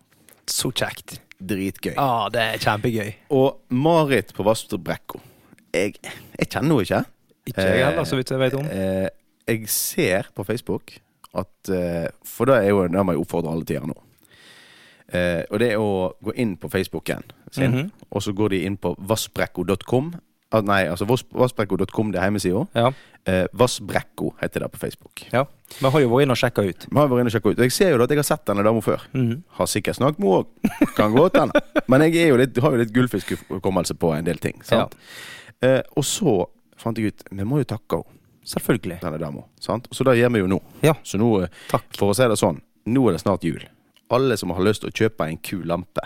Speaker 2: Så kjekt.
Speaker 1: Dritgøy.
Speaker 2: Ja, det er kjempegøy.
Speaker 1: Og Marit på Vassbrekka jeg, jeg kjenner henne ikke.
Speaker 2: Ikke jeg heller, så vidt jeg vet om.
Speaker 1: Eh, jeg ser på Facebook at eh, For det er jo det må jeg oppfordre alle til å gjøre nå. Eh, og det er å gå inn på Facebooken sin,
Speaker 2: Mhm.
Speaker 1: og så går de inn på vassbrekko.com Ah, nei, altså Voss- vassbrekko.com, det er hjemmesida.
Speaker 2: Ja.
Speaker 1: Eh, Vassbrekko heter det på Facebook.
Speaker 2: ja. Vi har jo vært inne og sjekka ut.
Speaker 1: Vi har vært inne og sjekket ut. Og Jeg ser jo da at jeg har sett denne dama før.
Speaker 2: Mhm.
Speaker 1: Har sikkert snakket med henne òg. Kan godt hende. Men jeg er jo litt, har jo litt gullfiskhukommelse på en del ting. Sant? Eh, og så fant jeg ut Vi må jo takke henne,
Speaker 2: Selvfølgelig.
Speaker 1: denne dama. sant? Så det gjør vi jo nå.
Speaker 2: Ja.
Speaker 1: Så nå, eh,
Speaker 2: Takk.
Speaker 1: for å si det sånn, nå er det snart jul. Alle som har lyst til å kjøpe en kul lampe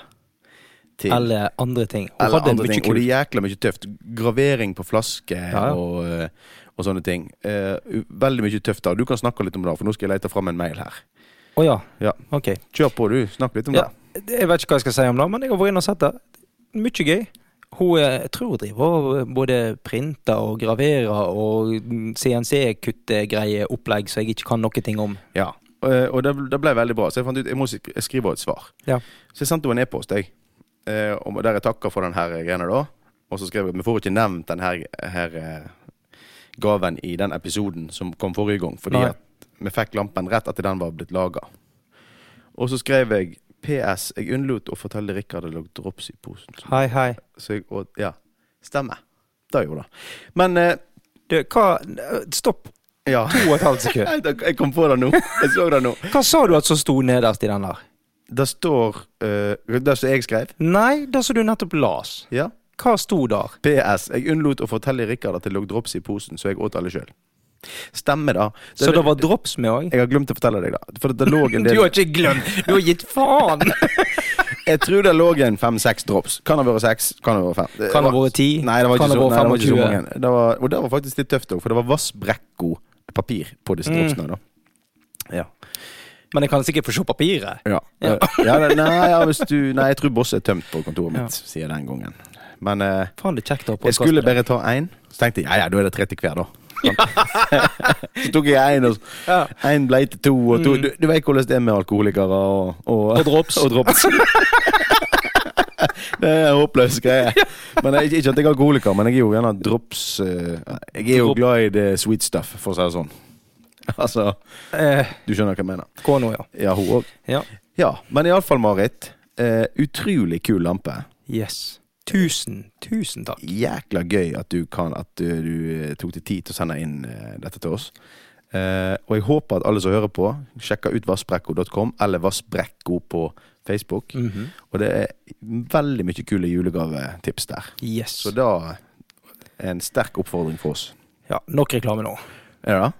Speaker 1: til
Speaker 2: Eller andre ting. Hun
Speaker 1: eller
Speaker 2: hadde
Speaker 1: andre
Speaker 2: mye
Speaker 1: ting. Og
Speaker 2: kult.
Speaker 1: det er jækla mye tøft. Gravering på flaske
Speaker 2: ja.
Speaker 1: Og, eh, og sånne ting. Eh, veldig mye tøft. da. Du kan snakke litt om det, for nå skal jeg lete fram en mail her.
Speaker 2: Å ja.
Speaker 1: Ja.
Speaker 2: Ok.
Speaker 1: Kjør på, du. Snakk litt om
Speaker 2: Ja,
Speaker 1: det.
Speaker 2: jeg vet ikke hva jeg skal si om det, men jeg har vært inne og sett det. Mye gøy. Hun eh, jeg tror hun driver og eh, både printer og graverer og CNC-kuttegreier opplegg som jeg ikke kan noe ting om.
Speaker 1: Ja. Eh, Og det, det ble veldig bra, så jeg fant ut jeg må sk- skrive et svar.
Speaker 2: Ja.
Speaker 1: Så jeg sendte henne en e-post, jeg. Eh, om- Der jeg takka for den her greiene, da. Og så skrev jeg vi får ikke nevnt den her, her eh, gaven i den episoden som kom forrige gang, fordi
Speaker 2: Nei.
Speaker 1: at vi fikk lampen rett etter den var blitt laga. Og så skrev jeg PS. Jeg unnlot å fortelle Rikard det lå drops i posen.
Speaker 2: Hei, hei.
Speaker 1: Så jeg, og, ja, stemmer. Det gjorde det. Men eh,
Speaker 2: Du, hva eh, Stopp
Speaker 1: ja.
Speaker 2: to og et halvt sekund.
Speaker 1: *laughs* Jeg kom på det nå. Jeg så det nå.
Speaker 2: Hva sa du at som sto nederst i den der?
Speaker 1: Det står eh, Det som jeg skrev.
Speaker 2: Nei, det som du nettopp las.
Speaker 1: Ja.
Speaker 2: Hva sto der?
Speaker 1: PS. Jeg unnlot å fortelle Rikard at det lå drops i posen, så jeg åt alle sjøl. Stemmer det. det,
Speaker 2: Så det var drops med òg?
Speaker 1: Jeg har glemt å fortelle deg det. For det lå
Speaker 2: *laughs*
Speaker 1: en
Speaker 2: Du
Speaker 1: del
Speaker 2: har ikke glemt! Du har gitt faen!
Speaker 1: Jeg tror det lå en fem-seks drops. Kan ha vært seks, kan ha vært fem. Det
Speaker 2: Kan ha
Speaker 1: var-
Speaker 2: vært ti?
Speaker 1: Nei, det var ikke
Speaker 2: kan
Speaker 1: så,
Speaker 2: ha vært
Speaker 1: nei, det var ikke så
Speaker 2: 25.
Speaker 1: mange. Det var, og det var faktisk litt tøft òg, for det var vassbrekko-papir på disse
Speaker 2: Mm.
Speaker 1: dropsene. da ja.
Speaker 2: Men jeg kan sikkert få se papiret.
Speaker 1: Ja.
Speaker 2: Ja.
Speaker 1: ja det, nei, ja, hvis du, nei, jeg tror Boss er tømt på kontoret mitt, sier jeg den gangen. Men eh,
Speaker 2: Faen, det er kjekt å ha
Speaker 1: Jeg
Speaker 2: podcast.
Speaker 1: skulle bare ta én, så tenkte jeg ja ja, da er det 30 hver, da. *laughs* så tok jeg én, og
Speaker 2: Ja.
Speaker 1: én ble til to, og to. Du, du vet hvordan det er med alkoholikere og, Mm. og,
Speaker 2: Og drops.
Speaker 1: *laughs* og drops. det er en håpløs greie. Men jeg, ikke at jeg er alkoholiker, men jeg er jo gjerne drops eh, Jeg er jo
Speaker 2: Drop.
Speaker 1: glad i det sweet stuff, for å si det *laughs* sånn. Altså,
Speaker 2: Eh,
Speaker 1: du skjønner hva jeg mener.
Speaker 2: Kono, ja.
Speaker 1: Ja, hun òg.
Speaker 2: ja.
Speaker 1: Ja, men iallfall, Marit. Eh, utrolig kul lampe.
Speaker 2: Yes. Tusen, tusen takk.
Speaker 1: jækla gøy at du, kan, at eh, du, du tok deg tid til å sende inn eh, dette til oss. Eh, og jeg håper at alle som hører på, sjekker ut vassbrekko.com eller vassbrekko på Facebook.
Speaker 2: Mhm.
Speaker 1: Og det er veldig mye kule julegavetips der.
Speaker 2: Yes.
Speaker 1: Så da er en sterk oppfordring for oss.
Speaker 2: Ja, nok reklame nå.
Speaker 1: Er det det? Ja,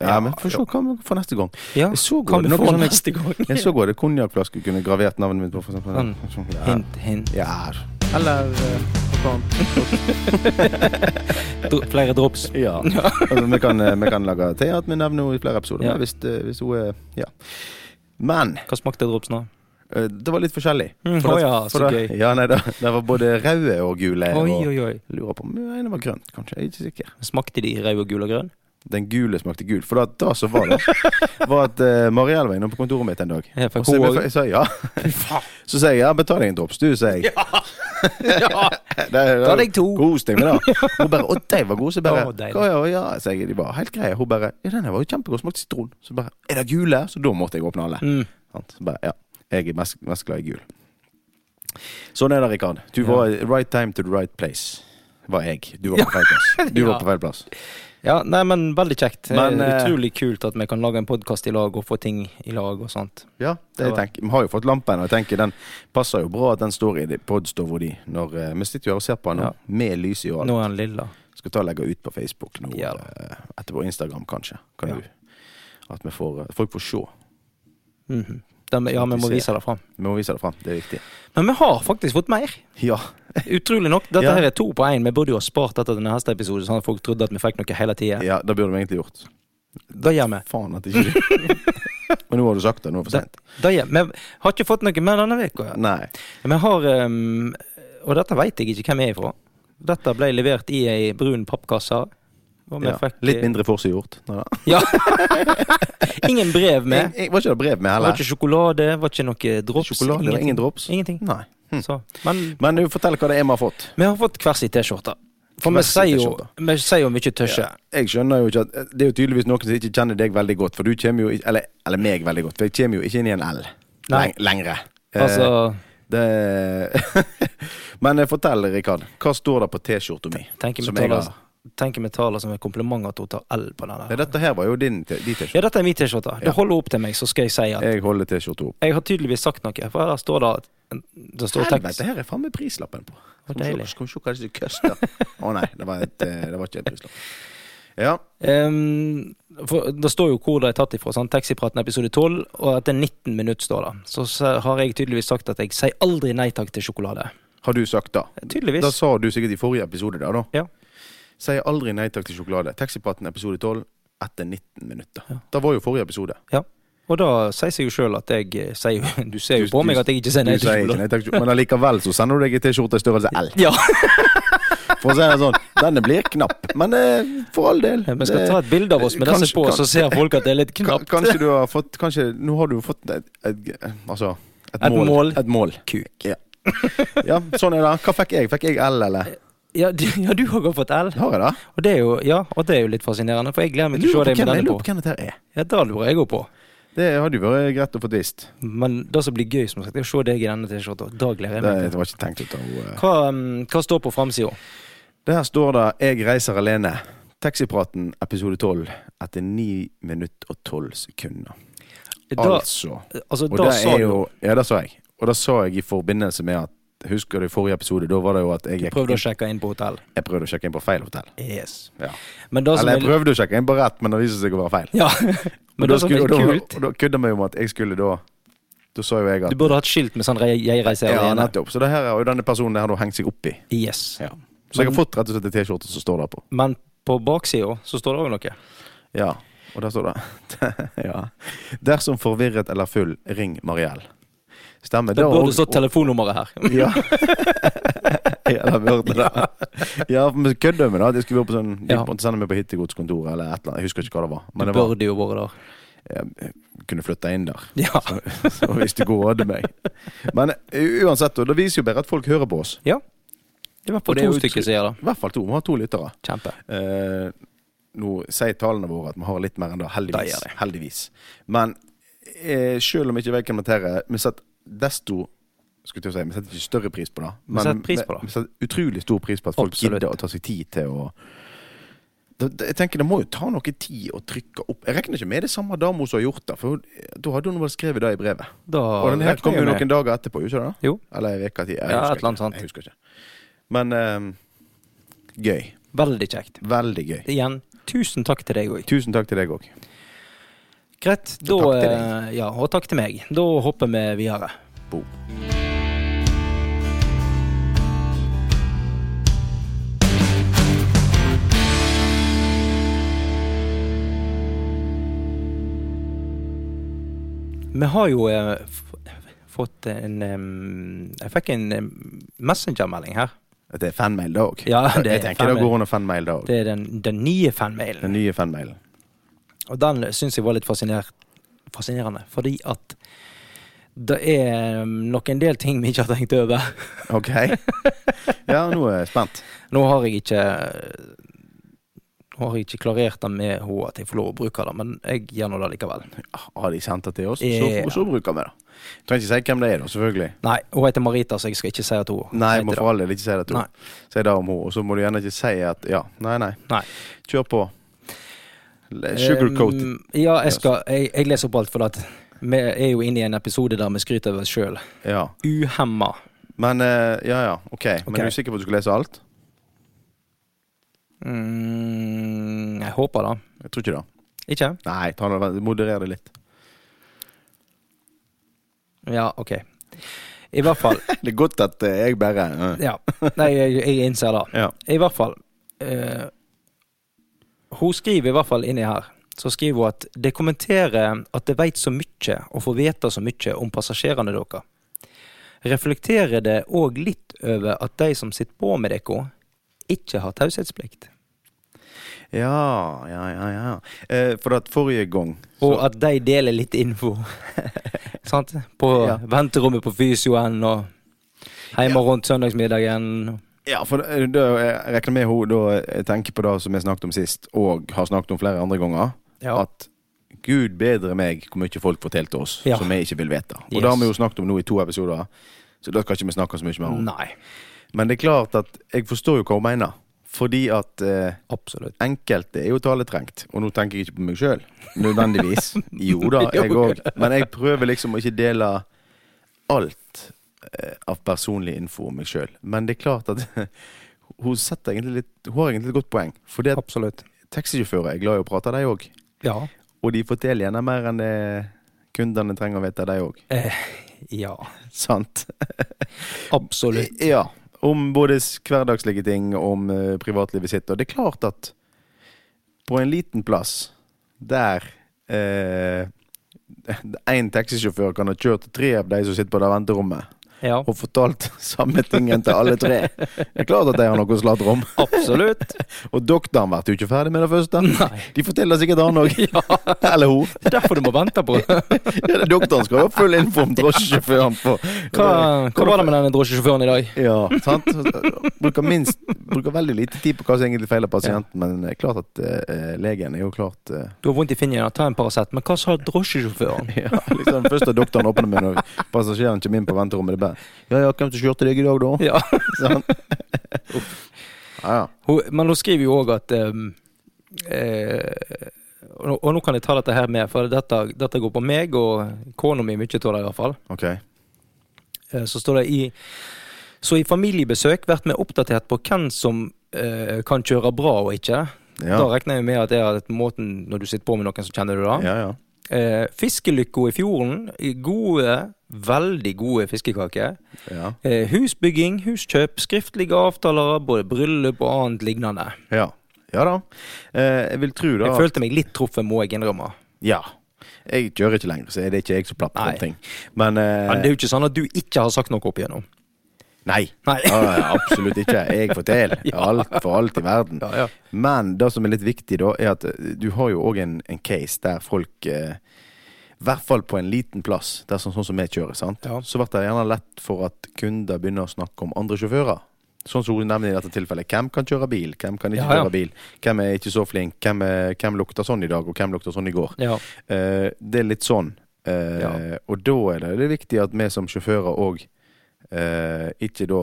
Speaker 2: Ja,
Speaker 1: men får se hva vi får neste gang.
Speaker 2: Ja,
Speaker 1: Jeg så
Speaker 2: kan
Speaker 1: godt
Speaker 2: vi
Speaker 1: noe
Speaker 2: få
Speaker 1: sånn jeg,
Speaker 2: neste gang?
Speaker 1: *laughs* jeg så godt konjakkflaske kunne gravert navnet mitt på, for eksempel.
Speaker 2: Sånn.
Speaker 1: Ja.
Speaker 2: Hint, hint.
Speaker 1: ja. Eller eh, sånn.
Speaker 2: Dro flere drops.
Speaker 1: Ja.
Speaker 2: *laughs*
Speaker 1: altså, vi, kan, eh, vi kan lage til at vi nevner henne i flere episoder.
Speaker 2: Ja.
Speaker 1: men Hvis, eh, hvis hun er Ja. Men
Speaker 2: Hva smakte drops nå?
Speaker 1: eh, det var litt forskjellig.
Speaker 2: Mm,
Speaker 1: det-
Speaker 2: å ja, så
Speaker 1: det,
Speaker 2: gøy.
Speaker 1: Ja, nei, det, det var både røde og gule.
Speaker 2: Oi,
Speaker 1: og,
Speaker 2: oi, oi.
Speaker 1: Jeg lurer på om nei, det var grønt, kanskje. Jeg er ikke sikker.
Speaker 2: Smakte de rød og gul og grønn?
Speaker 1: Den gule smakte gul. For da, da så var det
Speaker 2: *laughs*
Speaker 1: Var at eh, Marielle var innom på kontoret mitt en dag.
Speaker 2: Ja,
Speaker 1: Og
Speaker 2: for
Speaker 1: så,
Speaker 2: hun
Speaker 1: jeg,
Speaker 2: også-
Speaker 1: jeg sa ja. Så sier jeg ja, betal deg en drops, du, sier jeg.
Speaker 2: *laughs* Ja.
Speaker 1: Det- det-
Speaker 2: Ta deg to.
Speaker 1: Kos deg med det. Hun bare Å, de var gode. Så jeg bare
Speaker 2: Å, deilig.
Speaker 1: Å, ja, ja. Så jeg, de var helt greie. Hun bare Ja, den her var jo kjempegod. Smakte sitron. Så bare Er det gule? Så da måtte jeg åpne alle.
Speaker 2: Mm.
Speaker 1: Sant? Så bare Ja. Jeg er mest, mest glad i gul. Sånn er det, Rikard. Du var right time to the right place. Var jeg. Du var på feil
Speaker 2: *laughs*
Speaker 1: plass. Du
Speaker 2: Ja.
Speaker 1: var på feil plass.
Speaker 2: ja, nei, men veldig kjekt.
Speaker 1: Men,
Speaker 2: Eh,
Speaker 1: eh,
Speaker 2: Utrolig kult at vi kan lage en podkast i lag og få ting i lag og sånt.
Speaker 1: Ja, det jeg tenker. Vi har jo fått lampen, og jeg tenker den passer jo bra at den står i podstova di. Når, eh, vi sitter jo her og ser på den nå,
Speaker 2: Ja.
Speaker 1: med lys i og alt.
Speaker 2: Nå er han lilla.
Speaker 1: Skal ta og legge ut på Facebook nå,
Speaker 2: Ja da.
Speaker 1: eh, etterpå Instagram kanskje. Kan
Speaker 2: Ja.
Speaker 1: du, at vi får, eh, folk får se.
Speaker 2: Mhm. Den, ja, vi må vise det fram.
Speaker 1: Vi må vise det fram, det er viktig.
Speaker 2: Men vi har faktisk fått mer.
Speaker 1: Ja,
Speaker 2: Utrolig nok. Dette
Speaker 1: Ja.
Speaker 2: her er to på én. Vi burde jo ha spart dette til neste episode, sånn at folk trodde at vi fikk noe hele tida.
Speaker 1: ja det burde vi egentlig gjort.
Speaker 2: Det gjør vi.
Speaker 1: Faen at ikke du
Speaker 2: *laughs*
Speaker 1: Men nå har du sagt det, nå er det for
Speaker 2: Det-
Speaker 1: sent.
Speaker 2: Det gjør vi. Vi har ikke fått noe mer denne uka.
Speaker 1: Nei.
Speaker 2: Vi har ehm, Og dette veit jeg ikke hvem er ifra. Dette ble levert i ei brun pappkasse. Og vi
Speaker 1: Ja.
Speaker 2: fikk
Speaker 1: Litt mindre forseggjort. Nei da.
Speaker 2: Ja. eh, ingen brev med.
Speaker 1: Jeg- jeg- Var ikke det brev med,
Speaker 2: Det var
Speaker 1: heller?
Speaker 2: ikke sjokolade, det var ikke noe drops.
Speaker 1: Sjokolade, det var ingen drops? Mm.
Speaker 2: Ingenting.
Speaker 1: Nei.
Speaker 2: Så. Men
Speaker 1: Men du, fortell hva det er vi har fått.
Speaker 2: vi har fått hver sin T-skjorte. For
Speaker 1: Hver
Speaker 2: vi
Speaker 1: sin
Speaker 2: sier jo,
Speaker 1: T-skjorte.
Speaker 2: vi sier jo mye tøsje.
Speaker 1: Jeg skjønner jo ikke at eh, Det er jo tydeligvis noen som ikke kjenner deg veldig godt, for du kommer jo ikke Eller, eller meg veldig godt, for jeg kommer jo ikke inn i en L
Speaker 2: Nei.
Speaker 1: Leng- lengre. Eh,
Speaker 2: Altså
Speaker 1: Det... *laughs* Men eh, fortell, Rikard. Hva står det på T-skjorta mi?
Speaker 2: Tenk altså-
Speaker 1: Som
Speaker 2: om
Speaker 1: jeg
Speaker 2: vi
Speaker 1: har.
Speaker 2: Tenk vi tar det som en kompliment at hun tar L på den
Speaker 1: Nei,
Speaker 2: der.
Speaker 1: Dette her var jo din t- de T-skjorte.
Speaker 2: Ja, dette er min T-skjorte.
Speaker 1: Ja.
Speaker 2: Det holder hun opp til meg, så skal jeg si at
Speaker 1: Jeg holder T-skjorta opp.
Speaker 2: Jeg har tydeligvis sagt noe, for her står det at det står tekst.
Speaker 1: Helvete, her er faen meg prislappen på.
Speaker 2: Hvor
Speaker 1: Skal vi se-
Speaker 2: deilig.
Speaker 1: Skal vi se hva det koster. Å nei, det var, et, eh, det var ikke en prislapp. Ja.
Speaker 2: Ehm, for det står jo hvor det er tatt ifra. Sånn, Taxipraten episode 12, og etter 19 minutter står det. Så, så har jeg tydeligvis sagt at jeg sier aldri nei takk til sjokolade.
Speaker 1: Har du sagt da?
Speaker 2: Tydeligvis.
Speaker 1: Da sa du sikkert i forrige episode der, da.
Speaker 2: Ja.
Speaker 1: Sier aldri nei takk til sjokolade. Taxipraten episode 12 etter 19 minutter.
Speaker 2: Ja.
Speaker 1: Det var jo forrige episode.
Speaker 2: Og da sier seg jo sjøl at jeg eh, sier jo- *laughs* Du ser jo
Speaker 1: Du-
Speaker 2: på
Speaker 1: du-
Speaker 2: meg at jeg ikke sier
Speaker 1: Du
Speaker 2: nei til
Speaker 1: sier ikke
Speaker 2: sjokolade.
Speaker 1: nei takk til Men allikevel så sender du deg en T-skjorte i størrelse L.
Speaker 2: Ja,
Speaker 1: For å si det sånn, denne blir knapp. Men eh, for all del.
Speaker 2: Vi skal
Speaker 1: det-
Speaker 2: ta et bilde av oss med disse
Speaker 1: Kanskje-
Speaker 2: på, så ser folk at det er litt
Speaker 1: Ka-
Speaker 2: knapt.
Speaker 1: Kanskje du har fått Kanskje, Nå har du jo fått et, et, altså, et,
Speaker 2: Et mål.
Speaker 1: Et mål.
Speaker 2: Kuk.
Speaker 1: Ja. ja, sånn er det. Hva fikk jeg? Fikk jeg L, eller?
Speaker 2: Ja, du- ja, du har godt fått L.
Speaker 1: Har jeg det?
Speaker 2: Og det er jo, ja, og det er jo litt fascinerende, for jeg gleder meg
Speaker 1: Jeg
Speaker 2: til å se
Speaker 1: lurer på
Speaker 2: deg
Speaker 1: hvem, jeg
Speaker 2: med denne
Speaker 1: lurer
Speaker 2: på.
Speaker 1: på hvem dette her er.
Speaker 2: Ja, da lurer jeg òg på.
Speaker 1: Det hadde jo vært greit å få visst.
Speaker 2: Men det som blir gøy, som sagt, er å se deg i denne T-skjorta. Da
Speaker 1: Det
Speaker 2: gleder jeg meg.
Speaker 1: det var ikke tenkt ut av henne.
Speaker 2: Hva, um, hva står på framsida?
Speaker 1: Der står det 'Jeg reiser alene'. Taxipraten episode 12 etter 9 minutter og 12 sekunder.
Speaker 2: Da,
Speaker 1: Altså.
Speaker 2: altså,
Speaker 1: Og
Speaker 2: da
Speaker 1: det
Speaker 2: sa
Speaker 1: er
Speaker 2: du
Speaker 1: jo Ja, det sa jeg. Og det sa jeg i forbindelse med at Husker du i forrige episode? Da var det jo at jeg, gikk
Speaker 2: Prøvde å
Speaker 1: inn-
Speaker 2: sjekke inn på hotell.
Speaker 1: jeg prøvde å sjekke inn på feil hotell.
Speaker 2: Yes.
Speaker 1: Ja.
Speaker 2: Men det som
Speaker 1: Eller jeg
Speaker 2: er,
Speaker 1: prøvde å sjekke inn på rett, men det viste seg å være feil.
Speaker 2: ja. *laughs* Men
Speaker 1: Og
Speaker 2: det som
Speaker 1: skulle-
Speaker 2: er sånn
Speaker 1: og da-
Speaker 2: kult
Speaker 1: Og da kødda vi om at jeg skulle da Da sa jo jeg at
Speaker 2: Du burde hatt skilt med sånn re- 'jeg reiser
Speaker 1: Ja,
Speaker 2: alene'.
Speaker 1: nettopp. Så det her er jo denne personen det har da hengt seg opp i.
Speaker 2: Yes.
Speaker 1: Ja. Så jeg har fått rett og slett en T-skjorte som står der på.
Speaker 2: Men på baksida så står det òg noe.
Speaker 1: Ja, og der står det. *laughs* ja. Dersom forvirret eller full, ring Mariell. Stemmer.
Speaker 2: Da
Speaker 1: Det
Speaker 2: burde
Speaker 1: og-
Speaker 2: det stått telefonnummeret her.
Speaker 1: *laughs* Ja. *laughs* ja, da hørte det. Ja, for vi kødder med det. at Jeg skulle være på sånn De
Speaker 2: Ja.
Speaker 1: måtte sende meg på hittegodskontoret eller et eller annet. Jeg husker ikke hva det var. Men
Speaker 2: Det
Speaker 1: det var,
Speaker 2: burde jo vært der.
Speaker 1: *laughs* jeg kunne flytta inn der. *laughs*
Speaker 2: Ja.
Speaker 1: Så hvis det går an meg. Men u- uansett, og det viser jo bare at folk hører på oss.
Speaker 2: Det var på
Speaker 1: Og det er
Speaker 2: to
Speaker 1: jo
Speaker 2: stykker
Speaker 1: utro-
Speaker 2: som gjør det.
Speaker 1: I hvert fall to. Vi har to lyttere.
Speaker 2: Kjempe.
Speaker 1: Eh, nå sier tallene våre at vi har litt mer enn det, heldigvis.
Speaker 2: Det gjør det.
Speaker 1: heldigvis. Men eh, selv om ikke jeg kan mentere, vi setter desto skulle til å si, Vi setter ikke større pris på det,
Speaker 2: setter pris på det.
Speaker 1: vi setter utrolig stor pris på at folk
Speaker 2: Absolutt.
Speaker 1: gidder å ta seg tid til å det, det, jeg tenker Det må jo ta noe tid å trykke opp. Jeg regner ikke med det er samme dama som har gjort det, for hun- da hadde hun vel skrevet det i brevet.
Speaker 2: Da
Speaker 1: Og den her
Speaker 2: regner
Speaker 1: kom
Speaker 2: jeg
Speaker 1: jo
Speaker 2: med.
Speaker 1: noen dager etterpå, ikke det? da?
Speaker 2: Jo.
Speaker 1: Eller en uke tid. Jeg
Speaker 2: Ja,
Speaker 1: husker
Speaker 2: et eller annet
Speaker 1: ikke.
Speaker 2: sånt.
Speaker 1: Jeg husker ikke. Men ehm, gøy.
Speaker 2: Veldig kjekt.
Speaker 1: Veldig gøy.
Speaker 2: Igjen, tusen takk til deg òg.
Speaker 1: Tusen takk til deg òg.
Speaker 2: Greit. Da,
Speaker 1: takk til
Speaker 2: eh, ja, og takk til meg. Da hopper vi videre.
Speaker 1: Boom.
Speaker 2: Vi har jo eh, f- fått en em, Jeg fikk en em, messengermelding her.
Speaker 1: Det er fanmail, det òg.
Speaker 2: Ja, det er
Speaker 1: jeg tenker
Speaker 2: fanmail.
Speaker 1: det går under fanmail, det òg.
Speaker 2: Det er den, den nye
Speaker 1: Den
Speaker 2: fanmailen.
Speaker 1: nye fanmailen.
Speaker 2: Og den syns jeg var litt fascinert, fascinerende, fordi at det er em, nok en del ting vi ikke har tenkt over.
Speaker 1: OK?
Speaker 2: *laughs*
Speaker 1: Ja, nå er jeg spent.
Speaker 2: Nå har jeg ikke Nå har jeg ikke klarert det med henne at jeg får lov å bruke det, men jeg gjør nå det likevel.
Speaker 1: Ah, Har de sendt det til oss, så,
Speaker 2: Ja.
Speaker 1: og så bruker vi det. Trenger ikke si hvem det er, da, selvfølgelig.
Speaker 2: Nei, hun heter Marita, så jeg skal ikke si at hun
Speaker 1: Nei,
Speaker 2: heter
Speaker 1: må
Speaker 2: det.
Speaker 1: for all del ikke si det til
Speaker 2: Nei.
Speaker 1: henne. Si det om henne, og så må du gjerne ikke si at Ja, nei, nei.
Speaker 2: Nei.
Speaker 1: Kjør på. Le- Sugarcoat.
Speaker 2: Um, ja, jeg, skal, jeg, jeg leser opp alt, for at vi er jo inne i en episode der vi skryter av oss sjøl.
Speaker 1: Ja.
Speaker 2: Uhemma.
Speaker 1: Men eh, Ja, ja. OK. Men
Speaker 2: Ok.
Speaker 1: er du sikker på at du skal lese alt?
Speaker 2: Mm, jeg håper det.
Speaker 1: Jeg tror ikke det.
Speaker 2: Ikke?
Speaker 1: Nei, ta det, moderer det litt. *laughs*
Speaker 2: Ja, OK. I hvert fall.
Speaker 1: Det er godt at eh, jeg bare eh.
Speaker 2: Ja. Nei, jeg, jeg innser det.
Speaker 1: Ja.
Speaker 2: I hvert fall eh, Hun skriver i hvert fall inni her Så skriver hun at det kommenterer at det vet så mye og får vite så mye om passasjerene dere. Reflekterer det òg litt over at de som sitter på med dere, ikke har taushetsplikt?
Speaker 1: ja, ja, ja. ja. Eh, for at forrige gang
Speaker 2: Og at de deler litt info. *laughs* Sant? På
Speaker 1: Ja.
Speaker 2: venterommet på fysioen og hjemme rundt søndagsmiddagen.
Speaker 1: Ja, for da, da, eh, jeg regner med hun da jeg tenker på det som jeg snakket om sist, og har snakket om flere andre ganger,
Speaker 2: Ja.
Speaker 1: at Gud bedre meg hvor mye folk fortalte oss
Speaker 2: Ja.
Speaker 1: som vi ikke vil vite. Og
Speaker 2: Yes.
Speaker 1: det har vi jo snakket om nå i to episoder. Så da skal ikke vi snakke så mye mer om.
Speaker 2: Nei.
Speaker 1: Men det er klart at jeg forstår jo hva hun mener. Fordi at eh,
Speaker 2: Absolutt.
Speaker 1: enkelte er jo taletrengt. Og nå tenker jeg ikke på meg sjøl, *laughs* nødvendigvis. Jo da, jeg òg. Men jeg prøver liksom å ikke dele alt eh, av personlig info om meg sjøl. Men det er klart at *laughs* hun, setter egentlig litt, hun har egentlig et godt poeng. Fordi at
Speaker 2: Absolutt.
Speaker 1: taxisjåfører er glad i å prate, de òg.
Speaker 2: Ja.
Speaker 1: Og de forteller gjerne mer enn det kundene trenger å vite, de òg.
Speaker 2: Ja.
Speaker 1: Sant?
Speaker 2: Absolutt.
Speaker 1: Ja. Om både s- hverdagslige ting og om eh, privatlivet sitt. Og det er klart at på en liten plass der *laughs* én taxisjåfør kan ha kjørt tre av de som sitter på det venterommet,
Speaker 2: *laughs* Ja.
Speaker 1: og fortalt *laughs* samme tingen til alle tre. Det er klart at de har noe å sladre om.
Speaker 2: Absolutt.
Speaker 1: Og doktoren blir jo ikke ferdig med det første.
Speaker 2: Nei.
Speaker 1: De forteller sikkert han òg.
Speaker 2: *laughs* Ja.
Speaker 1: *laughs* Eller hun.
Speaker 2: *laughs* Det er derfor du må vente på *laughs* det.
Speaker 1: Ja, Doktoren skal jo ha full info om drosjesjåføren på
Speaker 2: Hva, hva var det med denne drosjesjåføren i dag?
Speaker 1: Ja, sant? Bruker, minst, bruker veldig lite tid på hva som egentlig feiler pasienten, men det er klart at eh, legen er jo klart eh,
Speaker 2: Du har vondt i fingeren, ta en Paracet. Men hva sa drosjesjåføren?
Speaker 1: *laughs* ja, *laughs* liksom, Først har doktoren åpner munnen, og passasjeren kommer inn på venterommet. Det er bare Ja ja, hvem som kjørte deg i dag, *laughs* da?
Speaker 2: *laughs* Ja.
Speaker 1: Sånn. Ja, ja.
Speaker 2: Hun, men hun skriver jo òg at ehm, eh, og, nå- og nå kan jeg ta dette her med, for dette, dette går på meg og kona mi mye av det, i hvert fall.
Speaker 1: Ok.
Speaker 2: Eh, Så står det i Så i familiebesøk vært mer oppdatert på hvem som eh, kan kjøre bra og ikke.
Speaker 1: Ja.
Speaker 2: Da regner jeg med at det er den måten når du sitter på med noen som kjenner du da.
Speaker 1: ja, ja.
Speaker 2: Eh, fiskelykka i fjorden. Gode, veldig gode fiskekaker.
Speaker 1: Ja.
Speaker 2: Eh, husbygging, huskjøp, skriftlige avtaler, både bryllup og annet lignende.
Speaker 1: Ja, ja da. Eh, jeg vil tro da
Speaker 2: Jeg følte meg litt truffet, må jeg innrømme.
Speaker 1: Ja. Jeg kjører ikke lenger, så det er ikke jeg som plapper
Speaker 2: Nei.
Speaker 1: om ting. Men eh,
Speaker 2: Men det er jo ikke sånn at du ikke har sagt noe opp igjennom. *laughs*
Speaker 1: Nei.
Speaker 2: Nei.
Speaker 1: Ja, ja, absolutt ikke. Jeg *laughs* forteller alt for alt i verden.
Speaker 2: Ja, ja.
Speaker 1: Men det som er litt viktig, da, er at eh, du har jo òg en, en case der folk eh, i hvert fall på en liten plass, det er sånn, sånn som vi kjører, sant?
Speaker 2: Ja.
Speaker 1: så blir det gjerne lett for at kunder begynner å snakke om andre sjåfører. Sånn som hun nevner i dette tilfellet. Hvem kan kjøre bil? Hvem kan ikke
Speaker 2: Ja, ja.
Speaker 1: kjøre bil? Hvem er ikke så flink? Hvem, er, hvem lukter sånn i dag, og hvem lukter sånn i går?
Speaker 2: Ja.
Speaker 1: Eh, det er litt sånn. Eh,
Speaker 2: Ja.
Speaker 1: Og da er det, det er viktig at vi som sjåfører òg eh, ikke da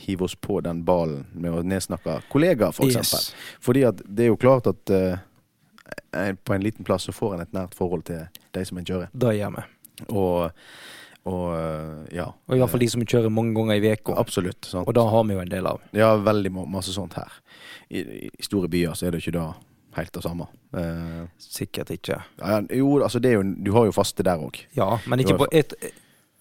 Speaker 1: hiver oss på den ballen med å nedsnakke kollegaer, for eksempel.
Speaker 2: Yes.
Speaker 1: Fordi at det er jo klart at eh, en- på en liten plass så får en et nært forhold til de som en kjører.
Speaker 2: Det gjør vi.
Speaker 1: Og, og eh, ja.
Speaker 2: Og i hvert fall de som kjører mange ganger i
Speaker 1: Eh,
Speaker 2: uka.
Speaker 1: Absolutt. Sant?
Speaker 2: Og det har vi jo en del av.
Speaker 1: Ja, veldig ma- masse sånt her. I, I store byer så er det ikke da helt det samme. Eh,
Speaker 2: Sikkert ikke.
Speaker 1: ja, ja, jo, altså det er jo, du har jo faste der òg.
Speaker 2: Ja, men ikke
Speaker 1: Jo,
Speaker 2: på et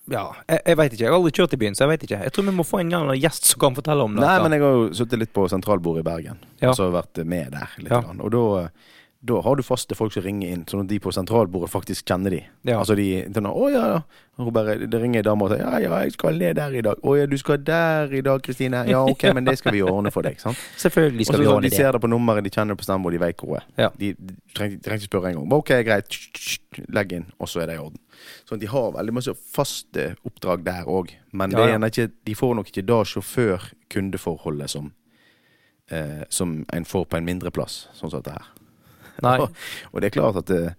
Speaker 2: ja, jeg, jeg veit ikke. Jeg har aldri kjørt i byen, så jeg veit ikke. Jeg tror vi må få en gjerne gjest som kan fortelle om dette.
Speaker 1: Nei, men jeg har jo sittet litt på sentralbordet i Bergen.
Speaker 2: Ja.
Speaker 1: Altså vært med der litt.
Speaker 2: Ja.
Speaker 1: Grann. Og da, eh, da har du faste folk som ringer inn, sånn at de på sentralbordet faktisk kjenner de.
Speaker 2: Ja.
Speaker 1: Altså de sånn, 'Å ja, ja.' Og hun bare, det ringer ei dame og sier 'Ja, ja, jeg skal ned der i dag.' 'Å ja, du skal der i dag, Kristine.' 'Ja, ok, men det skal vi ordne for deg.' sant? Og
Speaker 2: Selvfølgelig skal
Speaker 1: så
Speaker 2: vi
Speaker 1: sånn,
Speaker 2: ordne
Speaker 1: De
Speaker 2: det.
Speaker 1: ser det på nummeret, de kjenner det på stemmen, og de vet hvor hun er.
Speaker 2: Ja.
Speaker 1: De, de trengte de trengte ikke spørre engang. Ok, greit, Tsk, tsk, tsk, legg inn, og så er det i orden. Sånn, De har veldig masse faste oppdrag der òg, men det
Speaker 2: Ja,
Speaker 1: er
Speaker 2: ja.
Speaker 1: gjerne ikke, de får nok ikke da sjåfør-kundeforholdet som, eh, som en får på en mindre plass, sånn som dette her.
Speaker 2: Nei.
Speaker 1: Og det er klart at eh,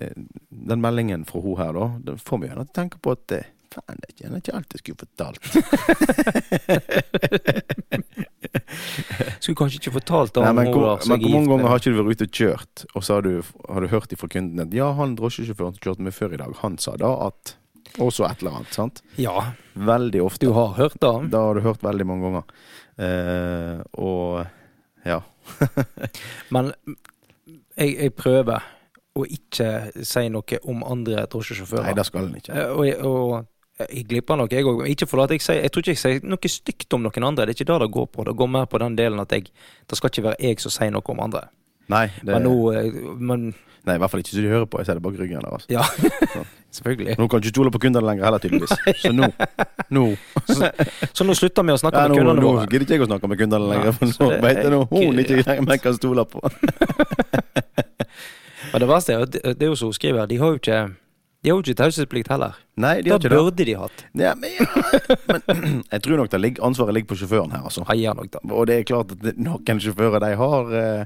Speaker 1: eh, den meldingen fra hun her, da, den får meg gjerne til å tenke på at eh, Faen, det er ikke- det er ikke alt jeg skulle fortalt.
Speaker 2: *laughs* Skulle kanskje ikke fortalt det
Speaker 1: Nei,
Speaker 2: om
Speaker 1: men,
Speaker 2: hun
Speaker 1: hvor,
Speaker 2: var så
Speaker 1: men hvor mange
Speaker 2: gift,
Speaker 1: ganger har ikke du vært ute og kjørt, og så har du, har du hørt ifra kunden at ja, han drosjesjåføren som kjørte meg før i dag, han sa da at Og så et eller annet, sant?
Speaker 2: Ja,
Speaker 1: Veldig ofte.
Speaker 2: du har hørt det.
Speaker 1: Da har du hørt veldig mange ganger. Eh, og ja.
Speaker 2: Men jeg, jeg prøver å ikke si noe om andre drosjesjåfører.
Speaker 1: Nei, det skal en ikke.
Speaker 2: Eh, Og, jeg- og jeg glipper nok, jeg òg. Ikke fordi at jeg sier Jeg tror ikke jeg sier noe stygt om noen andre. Det er ikke det det går på. Det går mer på den delen at jeg Det skal ikke være jeg som sier noe om andre.
Speaker 1: Nei, det,
Speaker 2: Men nå eh, Men
Speaker 1: nei, i hvert fall ikke så de hører på. Jeg ser det bak ryggen deres.
Speaker 2: ja. *laughs* Selvfølgelig.
Speaker 1: Nå kan du ikke stole på kundene lenger heller, tydeligvis. Så nå nå,
Speaker 2: Så, så nå slutter vi å snakke
Speaker 1: ja,
Speaker 2: med
Speaker 1: nå,
Speaker 2: kundene
Speaker 1: nå
Speaker 2: våre.
Speaker 1: gidder ikke jeg å snakke med kundene
Speaker 2: Nei,
Speaker 1: lenger, for
Speaker 2: så
Speaker 1: nå
Speaker 2: det
Speaker 1: vet jeg nå
Speaker 2: er
Speaker 1: hun ikke jeg kan stole på.
Speaker 2: Men det verste er jo at det er jo som hun skriver, her, de har jo ikke De har jo ikke taushetsplikt heller.
Speaker 1: Nei, de
Speaker 2: Da
Speaker 1: har ikke det.
Speaker 2: burde de hatt.
Speaker 1: Ja, men, ja. men *clears throat* jeg tror nok det ligger, ansvaret ligger på sjåføren her, altså.
Speaker 2: Heier nok, da.
Speaker 1: Og det er klart at det- noen sjåfører de har eh,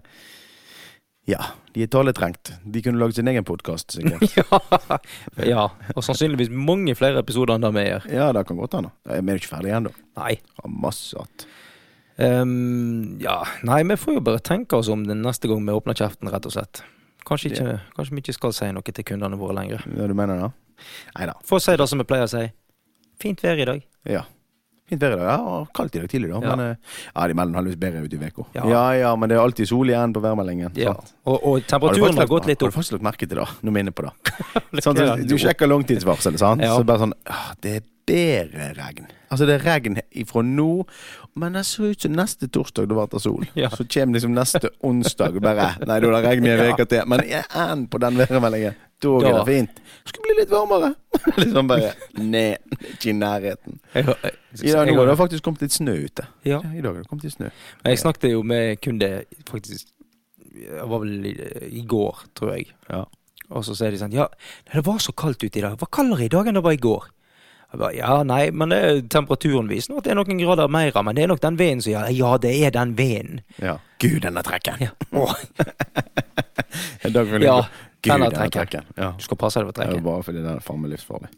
Speaker 1: Ja, de er taletrengt. De kunne lagd sin egen podkast, *laughs* sikkert.
Speaker 2: *laughs* ja. ja. Og sannsynligvis mange flere episoder enn det vi gjør.
Speaker 1: Ja, det kan godt hende. Vi er jo ikke ferdige ennå.
Speaker 2: Nei.
Speaker 1: Har masse att.
Speaker 2: Ehm, ja. Nei, vi får jo bare tenke oss om det neste gang vi åpner kjeften, rett og slett. Kanskje, ikke, kanskje vi ikke skal si noe til kundene våre lenger.
Speaker 1: Ja, du mener det? Nei da.
Speaker 2: Få si det som vi pleier å si. Fint vær i dag.
Speaker 1: Ja. Fint vær i dag. Ja, og kaldt i dag tidlig, da.
Speaker 2: Ja.
Speaker 1: Men eh, ja, de melder heldigvis bedre ut i uka.
Speaker 2: Ja.
Speaker 1: Ja. ja ja, men det er alltid sol igjen på værmeldingen.
Speaker 2: Ja.
Speaker 1: sant?
Speaker 2: Og, og
Speaker 1: Har du
Speaker 2: temperaturen
Speaker 1: faktisk
Speaker 2: har
Speaker 1: lagt-
Speaker 2: gått litt
Speaker 1: Har
Speaker 2: opp.
Speaker 1: du faktisk lagt merke til det, når vi er inne på det?
Speaker 2: Sånn,
Speaker 1: Sånn, så, du sjekker langtidsvarselet, sant?
Speaker 2: Ja.
Speaker 1: Så bare sånn «Ah, Det er bedre regn. Altså, det er regn ifra nå, men det ser ut som neste torsdag det blir sol.
Speaker 2: Ja.
Speaker 1: Så kommer liksom neste onsdag og bare Nei, da er det regn i en
Speaker 2: Ja.
Speaker 1: uke til. Men jeg er en på den værmeldingen. Da er det
Speaker 2: Ja.
Speaker 1: fint. Skulle bli litt varmere. *laughs* liksom bare Nei, ikke i nærheten.
Speaker 2: Jeg, jeg,
Speaker 1: I dag nå har det
Speaker 2: jeg,
Speaker 1: faktisk kommet litt snø ute.
Speaker 2: ja.
Speaker 1: I dag har det kommet litt snø.
Speaker 2: jeg snakket jo med kunde faktisk Det var vel i, i går, tror jeg.
Speaker 1: Ja.
Speaker 2: Og så sier de sånn Ja, nei, det var så kaldt ute i dag. Det var kaldere i dag enn det var i går. Jeg bare, ja, nei, men det, er- temperaturen viser nå at det er noen grader mer, men det er nok den vinden som gjør det. Ja, det er den
Speaker 1: *laughs*
Speaker 2: vinden.
Speaker 1: ja. Gud, denne trekken.
Speaker 2: Ja. Åh,
Speaker 1: En dag vil jeg
Speaker 2: ja,
Speaker 1: gå, Gud,
Speaker 2: denne
Speaker 1: denne
Speaker 2: trekken.
Speaker 1: trekken. Ja.
Speaker 2: Du skal passe deg for
Speaker 1: Det er jo
Speaker 2: trekket.
Speaker 1: bare fordi den er faen meg livsfarlig.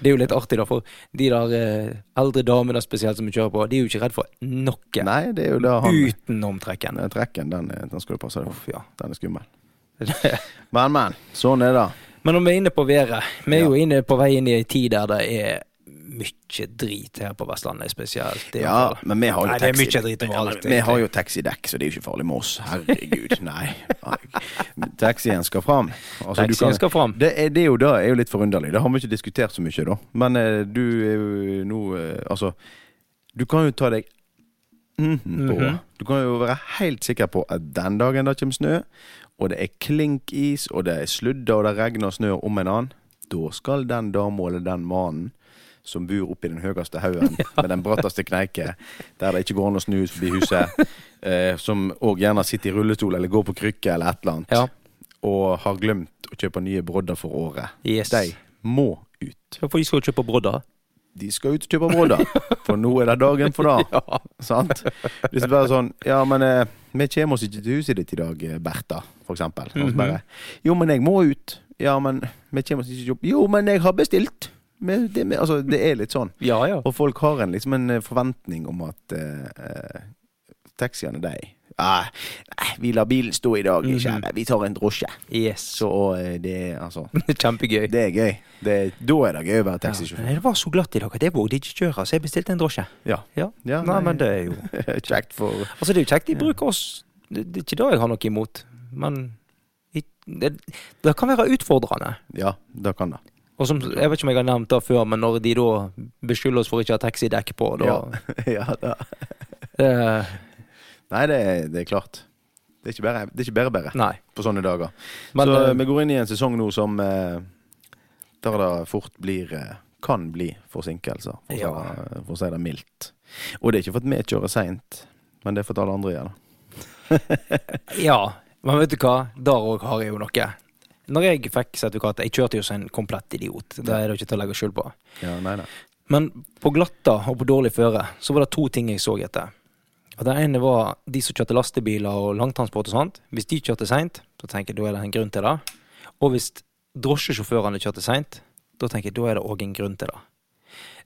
Speaker 2: Det er jo litt artig, da, for de der eh, eldre damene spesielt som vi kjører på, de er jo ikke redd for noe
Speaker 1: Nei, det er jo det han
Speaker 2: utenom trekken.
Speaker 1: Nei, trekken, den, er- den skal du passe deg for.
Speaker 2: Uff, ja.
Speaker 1: Den er skummel. *laughs* Men, men. Sånn er det.
Speaker 2: Men om vi er inne på været Vi er jo
Speaker 1: Ja.
Speaker 2: inne på vei inn i ei tid der det er mye drit her på Vestlandet spesielt. i
Speaker 1: Ja,
Speaker 2: hvert fall.
Speaker 1: men vi har jo
Speaker 2: Nei, det er
Speaker 1: taxi-
Speaker 2: mye drit overalt,
Speaker 1: Vi har jo taxidekk, så det er jo ikke farlig med oss. Herregud,
Speaker 2: *laughs*
Speaker 1: nei. Taxien skal fram. Altså, du
Speaker 2: Taxien
Speaker 1: kan-
Speaker 2: skal fram.
Speaker 1: Det er, det er jo da, er jo litt forunderlig. Det har vi ikke diskutert så mye, da. Men eh, du er jo nå eh, Altså, du kan jo ta deg mhm på.
Speaker 2: Mhm.
Speaker 1: Du kan jo være helt sikker på at den dagen det kommer snø, og det er klinkis, og det er sludder, og det regner snø om en annen, da skal den dama eller den mannen som bor oppi den høyeste
Speaker 2: *laughs*
Speaker 1: haugen med den bratteste kneike, der det ikke går an å snu ut forbi
Speaker 2: *laughs*
Speaker 1: huset, eh, som òg gjerne sitter i rullestol eller går på krykke eller et eller annet,
Speaker 2: Ja.
Speaker 1: og har glemt å kjøpe nye brodder for året.
Speaker 2: Yes.
Speaker 1: De må ut.
Speaker 2: Hvorfor de skal jo kjøpe brodder?
Speaker 1: De skal ut og kjøpe
Speaker 2: *laughs*
Speaker 1: brodder, for nå er det dagen for det.
Speaker 2: Ja.
Speaker 1: Sant? Hvis det bare er sånn Ja, men eh, vi kommer oss ikke til huset ditt i dag, eh, Bertha, for eksempel. Og
Speaker 2: Mhm.
Speaker 1: så bare Jo, men jeg må ut. Ja, men vi kommer oss ikke til jobb. Jo, men jeg har bestilt. Men det, men, altså, det er litt sånn.
Speaker 2: Ja, ja.
Speaker 1: Og folk har en, liksom en eh, forventning om at eh, eh, taxiene, de «Ah, Nei, vi lar bilen stå i
Speaker 2: Mhm.
Speaker 1: dag, kjære. Vi tar en drosje.
Speaker 2: Yes.
Speaker 1: Så og, eh, det er altså
Speaker 2: *laughs* Kjempegøy.
Speaker 1: Det er gøy. Det, er- da er det gøy å være
Speaker 2: Ja.
Speaker 1: taxisjåfør.
Speaker 2: Nei, Det var så glatt i dag at jeg vågde ikke kjøre, så jeg bestilte en drosje.
Speaker 1: Ja.
Speaker 2: Ja.
Speaker 1: Ja,
Speaker 2: nei, men det er jo
Speaker 1: *laughs* Kjekt for
Speaker 2: *laughs* Altså, det er jo kjekt de bruker oss. Det, det er ikke det jeg har noe imot, men i- det, det kan være utfordrende.
Speaker 1: Ja, det kan det. *laughs*
Speaker 2: Og som, Jeg vet ikke om jeg har nevnt det før, men når de da beskylder oss for ikke å ha taxidekk på, da
Speaker 1: Ja. ja, da.
Speaker 2: eh,
Speaker 1: Nei, det er, det er klart. Det er ikke bare det er ikke bare, bare
Speaker 2: Nei.
Speaker 1: på sånne dager.
Speaker 2: Men,
Speaker 1: så
Speaker 2: eh,
Speaker 1: vi går inn i en sesong nå som eh, der det fort blir eh, kan bli forsinkelser, for, å
Speaker 2: Ja.
Speaker 1: si det- for å si det mildt. Og det er ikke for at vi kjører seint, men det er for at alle andre gjør det.
Speaker 2: Ja. Men vet du hva, der òg har jeg jo noe. Når jeg fikk sertifikatet Jeg kjørte jo som en komplett idiot. Det er det ikke til å legge skjul på.
Speaker 1: Ja, nei, nei.
Speaker 2: Men på glatta og på dårlig føre så var det to ting jeg så etter. Og Det ene var de som kjørte lastebiler og langtransport og sånt. Hvis de kjørte seint, da tenker jeg da er det en grunn til det. Og hvis drosjesjåførene kjørte seint, da tenker jeg da er det òg en grunn til det.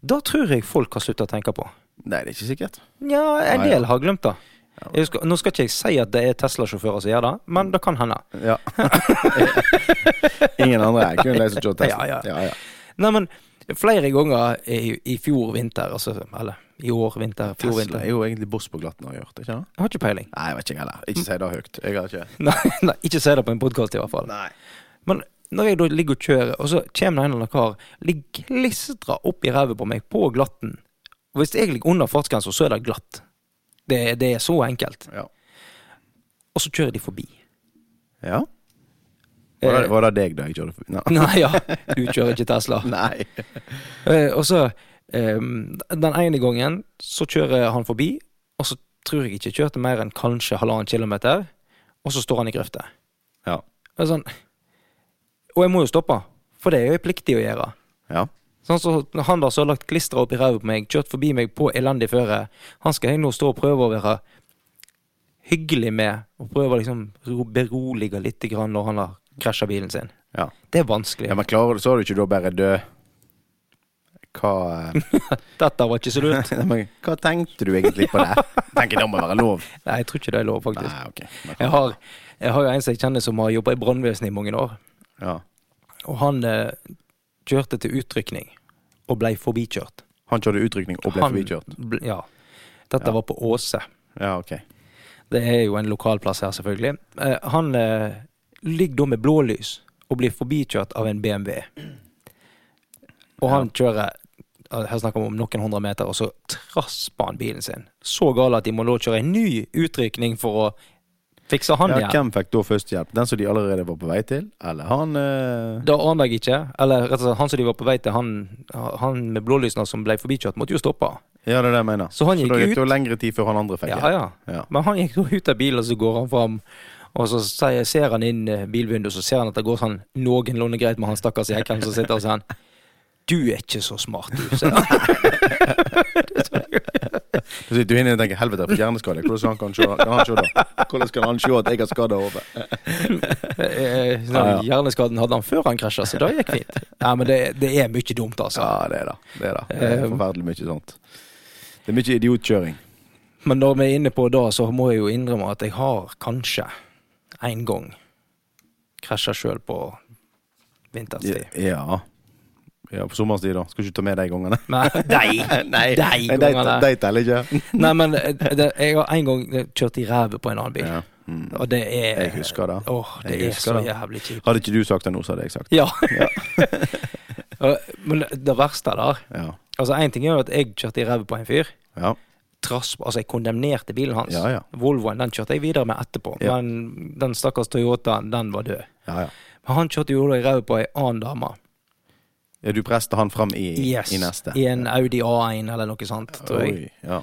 Speaker 2: Da tror jeg folk har sluttet å tenke på.
Speaker 1: Nei, det er ikke sikkert.
Speaker 2: Nja, en
Speaker 1: Nei, ja.
Speaker 2: del har glemt det.
Speaker 1: Ja.
Speaker 2: Jeg husker, nå skal ikke jeg si at det er Tesla-sjåfører som gjør det, men det kan hende.
Speaker 1: Ja. *laughs* Ingen andre er kun de som kjører Tesla.
Speaker 2: Ja, ja.
Speaker 1: ja, ja.
Speaker 2: Nei, men flere ganger i, i fjor vinter, altså, eller i år vinter, fjor
Speaker 1: Tesla
Speaker 2: vinter
Speaker 1: er jo egentlig boss på glatten, har jeg hørt. ikke det?
Speaker 2: Jeg har ikke peiling. *laughs*
Speaker 1: Nei, jeg vet ikke jeg heller. Ikke si det høyt. Jeg har ikke
Speaker 2: Nei, nei, ikke si det på en podkast i hvert fall.
Speaker 1: Nei.
Speaker 2: Men når jeg da ligger og kjører, og så kommer det en eller annen kar, ligger glistra opp i ræva på meg på glatten. Og hvis jeg ligger under fartsgrensa, så er det glatt. Det, det er så enkelt.
Speaker 1: Ja.
Speaker 2: Og så kjører de forbi. *laughs*
Speaker 1: ja. Var, det, var det deg da jeg kjørte forbi? Nei.
Speaker 2: Nei, ja. Du kjører ikke Tesla.
Speaker 1: Nei.
Speaker 2: Eh, og så eh, Den ene gangen så kjører han forbi, og så tror jeg ikke jeg kjørte mer enn kanskje halvannen kilometer, og så står han i grøfta.
Speaker 1: Ja.
Speaker 2: Det er Sånn. Og jeg må jo stoppe, for det er jo jeg pliktig å gjøre.
Speaker 1: Ja.
Speaker 2: Sånn så Han der som har lagt klistra opp i ræva på meg, kjørt forbi meg på elendig føre, han skal jeg nå stå og prøve å være hyggelig med å prøve å liksom ro- berolige litt grann når han har krasja bilen sin.
Speaker 1: Ja.
Speaker 2: Det er vanskelig.
Speaker 1: Ja, men klarer, så er du ikke da bare død? Hva eh,
Speaker 2: Dette var ikke så lurt.
Speaker 1: *laughs* Nei, men Hva tenkte du egentlig på *laughs* det? Tenker det må være lov.
Speaker 2: Nei, jeg tror ikke det er lov, faktisk.
Speaker 1: Nei, ok.
Speaker 2: Jeg har, jeg har jo en som jeg kjenner som har jobba i brannvesenet i mange år.
Speaker 1: Ja.
Speaker 2: Og han eh, kjørte til utrykning og blei forbikjørt.
Speaker 1: Han kjørte utrykning og ble
Speaker 2: Han
Speaker 1: forbikjørt.
Speaker 2: bl- ja. Dette
Speaker 1: Ja.
Speaker 2: var på Åse.
Speaker 1: Ja, ok.
Speaker 2: Det er jo en lokalplass her, selvfølgelig. Eh, han eh, ligger da med blålys og blir forbikjørt av en BMW. Og han kjører eh, her snakker vi om noen hundre meter, og så trasper han bilen sin. Så gal at de må nå kjøre en ny utrykning for å fikse han
Speaker 1: Ja,
Speaker 2: igjen.
Speaker 1: hvem fikk da førstehjelp? Den som de allerede var på vei til? Eller han eh,
Speaker 2: Det aner jeg ikke. Eller rett og slett, han som de var på vei til, han, han med blålysene som ble forbikjørt, måtte jo stoppe.
Speaker 1: Ja, det er det jeg mener.
Speaker 2: Så han
Speaker 1: Så
Speaker 2: gikk
Speaker 1: da gikk
Speaker 2: ut.
Speaker 1: det jo lengre tid før han andre fikk
Speaker 2: Ja,
Speaker 1: hjelp.
Speaker 2: ja.
Speaker 1: Ja.
Speaker 2: Men han gikk jo ut av bilen, og så går han fram. Og så sier, ser han inn eh, bilvinduet, så ser han at det går sånn noenlunde greit med han stakkars jekkeren som sitter og sier han Du er ikke så smart, du, sier han.
Speaker 1: Så sitter du inne og tenker 'helvete, jeg får hjerneskade'. Hvordan skal han kan se, kan han se da? Hvordan skal han se at jeg har skada hodet?
Speaker 2: Eh,
Speaker 1: *laughs*
Speaker 2: sånn,
Speaker 1: Ja, ja.
Speaker 2: Hjerneskaden hadde han før han krasja, så det gikk fint. Nei, men det, det er mye dumt, altså.
Speaker 1: Ja, det er det. Det er, det. det er
Speaker 2: *laughs* Eh,
Speaker 1: forferdelig mye sånt. Det er mye idiotkjøring.
Speaker 2: Men når vi er inne på det, så må jeg jo innrømme at jeg har kanskje en gang krasja sjøl på vinterstid.
Speaker 1: Ja. ja. På sommerstid, da. Skal ikke ta med de gangene.
Speaker 2: Nei, de,
Speaker 1: *laughs* Nei,
Speaker 2: de
Speaker 1: de,
Speaker 2: gangene.
Speaker 1: de teller
Speaker 2: *laughs*
Speaker 1: ikke.
Speaker 2: Nei, men eh, det, jeg har en gang kjørt i rævet på en annen bil.
Speaker 1: Ja. Mm.
Speaker 2: Og det er
Speaker 1: Jeg husker det.
Speaker 2: Åh, det
Speaker 1: Jeg
Speaker 2: er
Speaker 1: husker
Speaker 2: så
Speaker 1: det.
Speaker 2: jævlig kjipt.
Speaker 1: Hadde ikke du sagt det nå, så hadde jeg sagt
Speaker 2: Ja. *laughs* Og- men det verste der
Speaker 1: ja.
Speaker 2: Altså, Én ting er jo at jeg kjørte i rævet på en fyr.
Speaker 1: Ja.
Speaker 2: Trass, altså, jeg kondemnerte bilen hans.
Speaker 1: Ja, ja.
Speaker 2: Volvoen den kjørte jeg videre med etterpå.
Speaker 1: Ja.
Speaker 2: Men den stakkars Toyotaen, den var død.
Speaker 1: ja, ja.
Speaker 2: Men han kjørte jo da i rævet på ei annen dame.
Speaker 1: Ja, du presset han fram i,
Speaker 2: Yes,
Speaker 1: i neste.
Speaker 2: I en Audi A1 eller noe sånt, tror jeg.
Speaker 1: Oi, ja.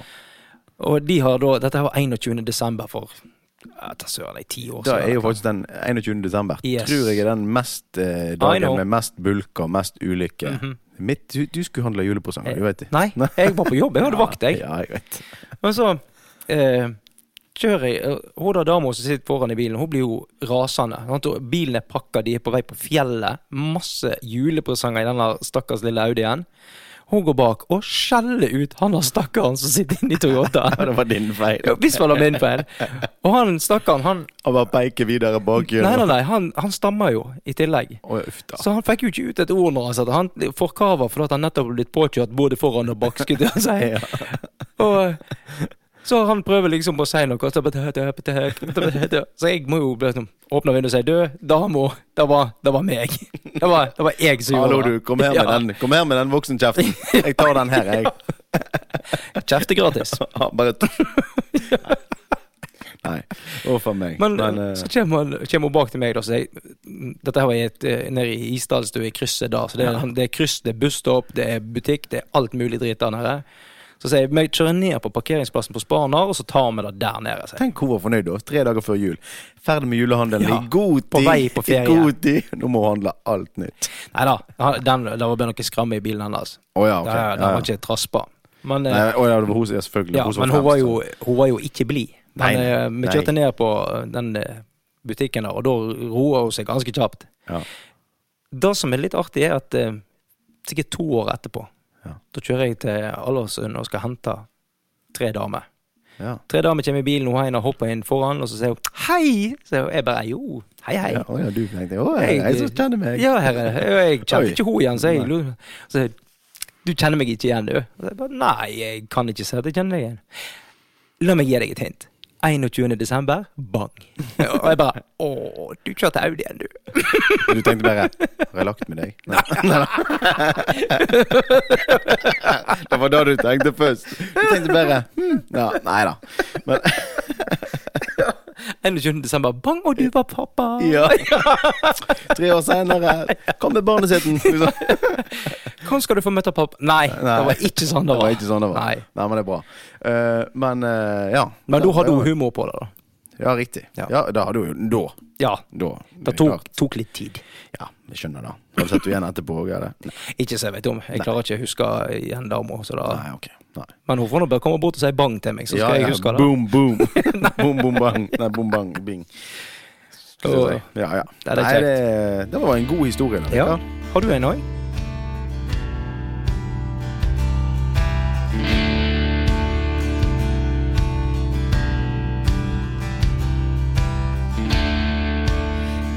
Speaker 2: Og de har da Dette var 21. desember for ja, ta søren, det er ti år
Speaker 1: Da
Speaker 2: siden.
Speaker 1: er jo faktisk den 21. desember.
Speaker 2: Yes.
Speaker 1: Tror jeg er den mest eh,
Speaker 2: I know. Mhm.
Speaker 1: dagen med mest bulker, mest ulykke. Mitt, du, du skulle handle julepresanger, du vet det.
Speaker 2: Eh, Nei, jeg var på jobb. Jeg hadde vakt, jeg.
Speaker 1: *laughs* Ja, jeg vet.
Speaker 2: Men så eh, kjører jeg eh, Hun der dama som sitter foran i bilen, hun blir jo rasende. sant? Og Bilen er pakka, de er på vei på fjellet. Masse julepresanger i denne stakkars lille Audien. Hun går bak og skjeller ut han der stakkaren som sitter inne i
Speaker 1: Ja, *laughs*
Speaker 2: Toyotaen.
Speaker 1: det var din feil.
Speaker 2: Ja, Hvis man har min
Speaker 1: *laughs*
Speaker 2: feil. Og han stakkaren, han
Speaker 1: Og bare peke videre bak
Speaker 2: Nei, nei,
Speaker 1: hjørnet.
Speaker 2: nei, han, han stammer jo i tillegg.
Speaker 1: Å, uff da.
Speaker 2: Så han fikk jo ikke ut et ord når han satt Han forkava fordi at han nettopp ble blitt påkjørt både foran og bak, skulle jeg si.
Speaker 1: *laughs* Ja.
Speaker 2: Og eh, så han prøver liksom å si noe, og så bare dø, dø, dø, dø, dø. Så jeg må jo bare sånn åpne vinduet og si død. Damo, det var, det var meg. Det var, det var jeg som
Speaker 1: Hallo,
Speaker 2: gjorde
Speaker 1: du. Kom her med
Speaker 2: Ja.
Speaker 1: den Kom her med den
Speaker 2: *laughs*
Speaker 1: voksenkjeften. Jeg tar den her, jeg.
Speaker 2: Kjefte gratis.
Speaker 1: Ja, Bare *laughs* Nei. Å, for meg.
Speaker 2: Men,
Speaker 1: Men, eh,
Speaker 2: så kommer han- kommer hun bak til meg, da, så jeg "Mm, Dette her var i et, eh, nede i Isdalstua, i krysset da. Så det er, det er kryss, det er busstopp, det er butikk, det er alt mulig dritt der nede. Så sier jeg vi kjører ned på parkeringsplassen på Spaner, og så tar vi det der nede. sier jeg.
Speaker 1: Tenk hvor fornøyd du er tre dager før jul. Ferdig med julehandelen
Speaker 2: Ja,
Speaker 1: i god tid.
Speaker 2: på vei på ferie.
Speaker 1: I god tid. Nå må hun handle alt nytt.
Speaker 2: Nei da, han- den, det var bare noe skramme i bilen hennes.
Speaker 1: Å ja, ok.
Speaker 2: Ja, ja, den var ikke traspa. Men, eh,
Speaker 1: Nei, å ja, det var hun som- ja, selvfølgelig.
Speaker 2: ja,
Speaker 1: hun som
Speaker 2: men hun var,
Speaker 1: fremst.
Speaker 2: jo, hun var jo ikke blid. Men
Speaker 1: Nei, nei,
Speaker 2: eh, vi
Speaker 1: nei.
Speaker 2: kjørte ned på eh, den eh, butikken der, og da roa hun seg ganske kjapt.
Speaker 1: Ja.
Speaker 2: Det som er litt artig, er at eh, sikkert to år etterpå,
Speaker 1: Ja.
Speaker 2: da kjører jeg til Alversund og skal hente tre damer.
Speaker 1: Ja.
Speaker 2: Tre damer kommer i bilen, og hun ene hopper inn foran, og så sier hun 'hei'. Så jeg bare 'jo, hei, hei'.
Speaker 1: Ja, å ja, du tenkte Å, jeg,
Speaker 2: Jeg-
Speaker 1: jeg som kjenner meg.
Speaker 2: Ja, herre. Jeg kjente
Speaker 1: Oi.
Speaker 2: ikke henne igjen, så jeg
Speaker 1: Nei.
Speaker 2: lo- så jeg, Du kjenner meg ikke igjen, du? Og jeg bare, Nei, jeg kan ikke si at jeg kjenner deg igjen. La meg gi deg et hint. 21. desember, bang.
Speaker 1: *laughs*
Speaker 2: Og jeg bare Å, du kjørte Audien, du.
Speaker 1: Du tenkte bare Har jeg lagt med deg? Nei. *laughs* det var da du tenkte først. Du tenkte bare hm, ja, Nei da. Men *laughs*
Speaker 2: 21. desember, bang, og du var pappa.
Speaker 1: ja. Tre år seinere Kom med barneseten.
Speaker 2: *laughs*
Speaker 1: Liksom.
Speaker 2: Hvordan skal du få møte pappa? Nei, det var ikke sånn det
Speaker 1: Det
Speaker 2: var.
Speaker 1: var ikke sånn det var.
Speaker 2: Nei.
Speaker 1: Nei, men det er bra. Eh, men eh, ja.
Speaker 2: Men da hadde
Speaker 1: Det
Speaker 2: hun
Speaker 1: var-
Speaker 2: humor på det, da.
Speaker 1: Ja, riktig.
Speaker 2: Ja.
Speaker 1: Ja, da hadde hun jo Da.
Speaker 2: Ja,
Speaker 1: da
Speaker 2: det tok, tok litt tid.
Speaker 1: Ja, jeg skjønner det. Da setter du igjen etterpå òg, er det?
Speaker 2: Ikke så jeg vet om. Jeg klarer ikke å huske igjen dama. så da-
Speaker 1: Nei, OK. Nei.
Speaker 2: Men hun får nå bare komme bort og si bang til meg, så skal jeg huske det.
Speaker 1: Boom,
Speaker 2: *laughs*
Speaker 1: boom. boom, boom, bang. Nei, boom, bang, bing. Skal jeg
Speaker 2: Oi.
Speaker 1: si. Ja, ja.
Speaker 2: Det er litt
Speaker 1: Nei, det, det var en god historie. da,
Speaker 2: Ja.
Speaker 1: Rikard.
Speaker 2: Har du en òg?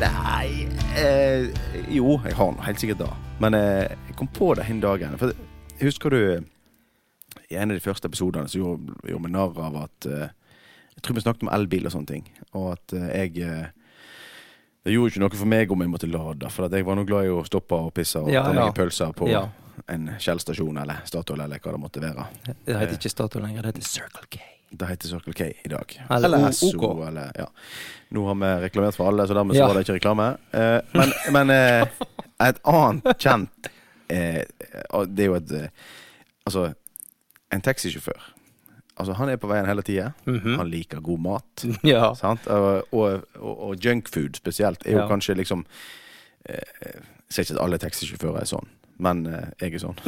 Speaker 1: Nei eh, Jo, jeg har noe, helt sikkert da. Men eh, jeg kom på det den dagen. For husker du i en av de første episodene så gjorde gjorde vi narr av at eh, Jeg tror vi snakket om elbil og sånne ting. Og at eh, jeg eh, Det gjorde ikke noe for meg om jeg måtte lade, for at jeg var nå glad i å stoppe og pisse og
Speaker 2: Ja,
Speaker 1: ta meg
Speaker 2: ja.
Speaker 1: en pølse på
Speaker 2: Ja.
Speaker 1: en Shell-stasjon eller Statoil eller hva det måtte være.
Speaker 2: Det heter ikke Statoil lenger, det heter Circle K.
Speaker 1: Det heter Circle K i dag.
Speaker 2: Eller O- OK.
Speaker 1: eller ja. Nå har vi reklamert for alle, så dermed
Speaker 2: Ja.
Speaker 1: så var det ikke reklame. Eh, men men eh, et annet kjent eh, og Det er jo et eh, Altså, en taxisjåfør. Altså, han er på veien hele tida.
Speaker 2: Mm.
Speaker 1: Han liker god mat.
Speaker 2: Mhm. *laughs* Ja.
Speaker 1: Sant? Og, og, og, og junkfood spesielt er jo
Speaker 2: Ja.
Speaker 1: kanskje liksom eh, Jeg sier ikke at alle taxisjåfører er sånn, men eh, jeg er
Speaker 2: *laughs*
Speaker 1: sånn.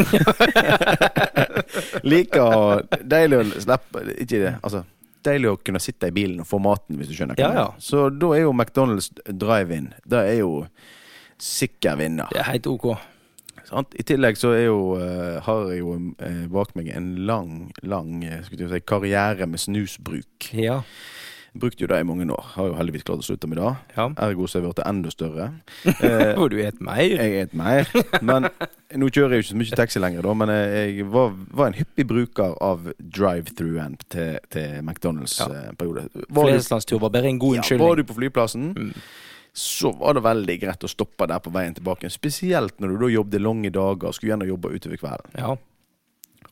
Speaker 1: Liker å Deilig å slippe Ikke det, altså. Deilig å kunne sitte i bilen og få maten, hvis du skjønner. hva
Speaker 2: Ja,
Speaker 1: jeg
Speaker 2: ja.
Speaker 1: mener. Så da er jo McDonald's drive-in Det er jo sikker vinner.
Speaker 2: Det er helt OK.
Speaker 1: Sant? I tillegg så er jo, eh, har jeg jo eh, bak meg en lang, lang eh, skulle jeg til å si, karriere med snusbruk.
Speaker 2: Ja.
Speaker 1: Brukte jo det i mange år. Har jo heldigvis klart å slutte med det.
Speaker 2: ja.
Speaker 1: Ergo så er jeg blitt enda
Speaker 2: *laughs*
Speaker 1: større. Eh,
Speaker 2: Hvor du et mer?
Speaker 1: jeg et mer. Men nå kjører jeg jo ikke så mye taxi lenger, da. Men eh, jeg var, var en hyppig bruker av drive-through-end til, til McDonald's
Speaker 2: Ja.
Speaker 1: eh, periode. Var du,
Speaker 2: Fleslandstur var bare en god
Speaker 1: ja, var
Speaker 2: unnskyldning.
Speaker 1: du på flyplassen,
Speaker 2: Mm.
Speaker 1: så var det veldig greit å stoppe der på veien tilbake. Spesielt når du da jobbet lange dager og skulle gjerne jobbe utover kvelden.
Speaker 2: Ja.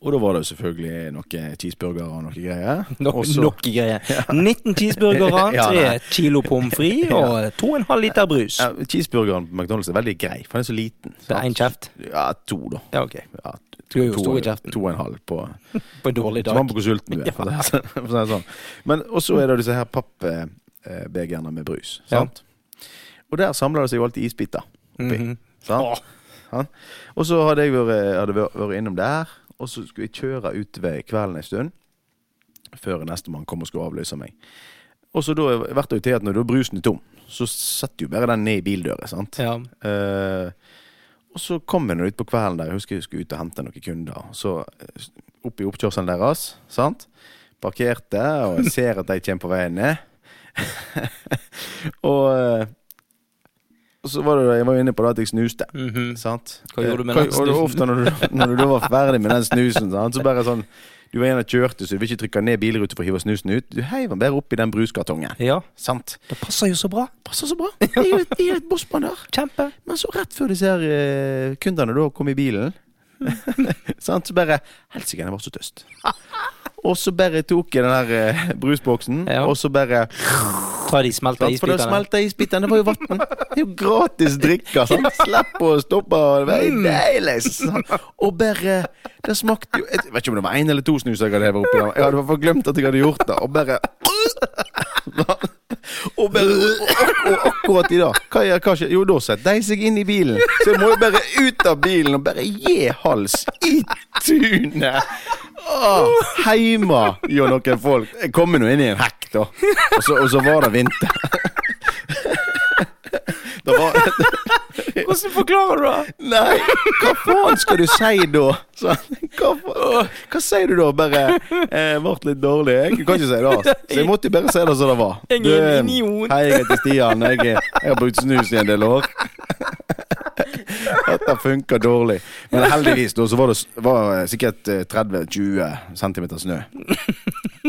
Speaker 1: Og da var det jo selvfølgelig noen cheeseburgere og noe greier.
Speaker 2: *laughs* Nok,
Speaker 1: Og så-
Speaker 2: nok
Speaker 1: *laughs*
Speaker 2: greier. 19 cheeseburgere,
Speaker 1: Ja,
Speaker 2: 3 kilo pommes frites og 2,5 liter brus.
Speaker 1: ja, cheeseburgeren på McDonald's er veldig grei, for den er så liten.
Speaker 2: Det er
Speaker 1: sant?
Speaker 2: én kjeft.
Speaker 1: Ja, to, da.
Speaker 2: Ja, ok.
Speaker 1: Ja,
Speaker 2: Du er jo
Speaker 1: to-
Speaker 2: stor i kjeften.
Speaker 1: To og en halv på
Speaker 2: På en dårlig
Speaker 1: Som han
Speaker 2: dag.
Speaker 1: på hvor sulten du er. *laughs*
Speaker 2: *laughs*
Speaker 1: For å si- for å si det sånn. Men også er det disse her pappbegerne med brus.
Speaker 2: Ja.
Speaker 1: Sant? Og der samler det seg jo alltid isbiter. oppi,
Speaker 2: Mhm.
Speaker 1: Sant? Ja. Og så hadde jeg vært, eh, hadde vært- vært innom der, og så skulle jeg kjøre ut ved kvelden en stund. Før nestemann kom og skulle avløse meg. Og så da vært det jo til at når da brusen er tom, så setter du bare den ned i bildøra. sant?
Speaker 2: Ja.
Speaker 1: Eh, og så kom vi nå ut på kvelden der. Jeg husker jeg skulle ut og hente noen kunder. Og så eh, opp i oppkjørselen deres. sant? Parkerte, og jeg ser at de kommer på veien ned. *laughs* og eh, og så var det, jeg var jo inne på det at jeg snuste.
Speaker 2: Mhm.
Speaker 1: sant?
Speaker 2: Hva gjorde du med
Speaker 1: Eh,
Speaker 2: den
Speaker 1: Og det
Speaker 2: snusen?
Speaker 1: var ofte når du, når du da var ferdig med den snusen, sant? så bare sånn Du var en og kjørte, så du vil ikke trykke ned bilruta for å hive snusen ut. Du heiv den bare oppi den bruskartongen.
Speaker 2: ja.
Speaker 1: Sant?
Speaker 2: Det passer jo så bra.
Speaker 1: Passer så bra. Det er jo et, det er jo et bossmann der.
Speaker 2: Kjempe.
Speaker 1: Men så rett før disse her eh, kundene da kom i bilen *laughs* sant, Så bare Helsike, jeg var så tøst. Og så bare tok jeg den her eh, brusboksen,
Speaker 2: Ja.
Speaker 1: og så bare
Speaker 2: Ta de smelta
Speaker 1: sant, For da
Speaker 2: isbitene.
Speaker 1: smelta isbitene. Det var jo vann. Det er jo gratis drikke. Sant? Slipp å stoppe. og Det var deilig. sant. Og bare Det smakte jo Jeg vet ikke om det var én eller to snus jeg hadde hevet oppi. der. Jeg hadde i hvert fall glemt at jeg hadde gjort det. Og bare og, bare, og, og akkurat i dag hva, gjør- hva skjer? Jo, da setter de seg inn i bilen. Så jeg må jo bare ut av bilen og bare gi hals i tunet. Åh, heima jo noen folk. Jeg kommer nå inn i en hekk, da. Og så, og så var det vinter. Det var,
Speaker 2: *laughs* Hvordan forklarer du det?
Speaker 1: Nei, hva faen skal du si da? Så, hva, fa- hva sier du da? Bare eh, vart litt dårlig. Jeg Du kan ikke si det. Altså. Så jeg måtte jo bare si det som det var.
Speaker 2: Jeg er
Speaker 1: Du,
Speaker 2: en idiot.
Speaker 1: Hei, jeg heter Stian. Jeg, er- jeg har brukt snus i en del år. Dette funker dårlig. Men heldigvis da, så var det s- var eh, sikkert eh, 30-20 cm snø.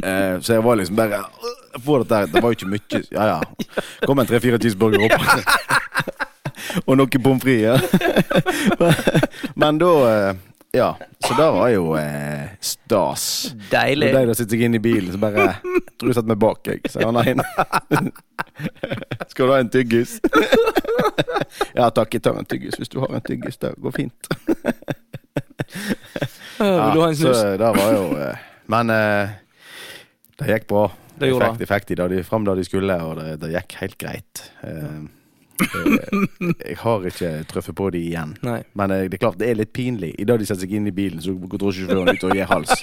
Speaker 1: Eh, så jeg var liksom bare øh, Få dette her. Det var jo ikke mye. Ja, ja. Kom en tre-fire cheeseburger opp. Og noe pommes frites. *laughs* Men da eh, Ja. Så det var jo eh, stas.
Speaker 2: Deilig.
Speaker 1: Når de da sitter seg inn i bilen, så bare Jeg tror jeg setter meg bak, jeg. Så han er inne. *laughs* Skal du ha en tyggis? *laughs* Ja takk, jeg tar en tyggis hvis du har en tyggis. Det går fint.
Speaker 2: Øh, Vil du ha en snus?
Speaker 1: så eh, det var jo eh, Men eh, det gikk bra.
Speaker 2: Det
Speaker 1: Jeg
Speaker 2: gjorde
Speaker 1: fikk,
Speaker 2: det.
Speaker 1: jeg fikk de da de fram da de skulle, og det, det gikk helt greit. Eh,
Speaker 2: *laughs*
Speaker 1: jeg, jeg har ikke truffet på de igjen.
Speaker 2: Nei.
Speaker 1: Men eh, det er klart, det er litt pinlig. I dag de setter seg inn i bilen, så går drosjesjåføren ut og gir hals.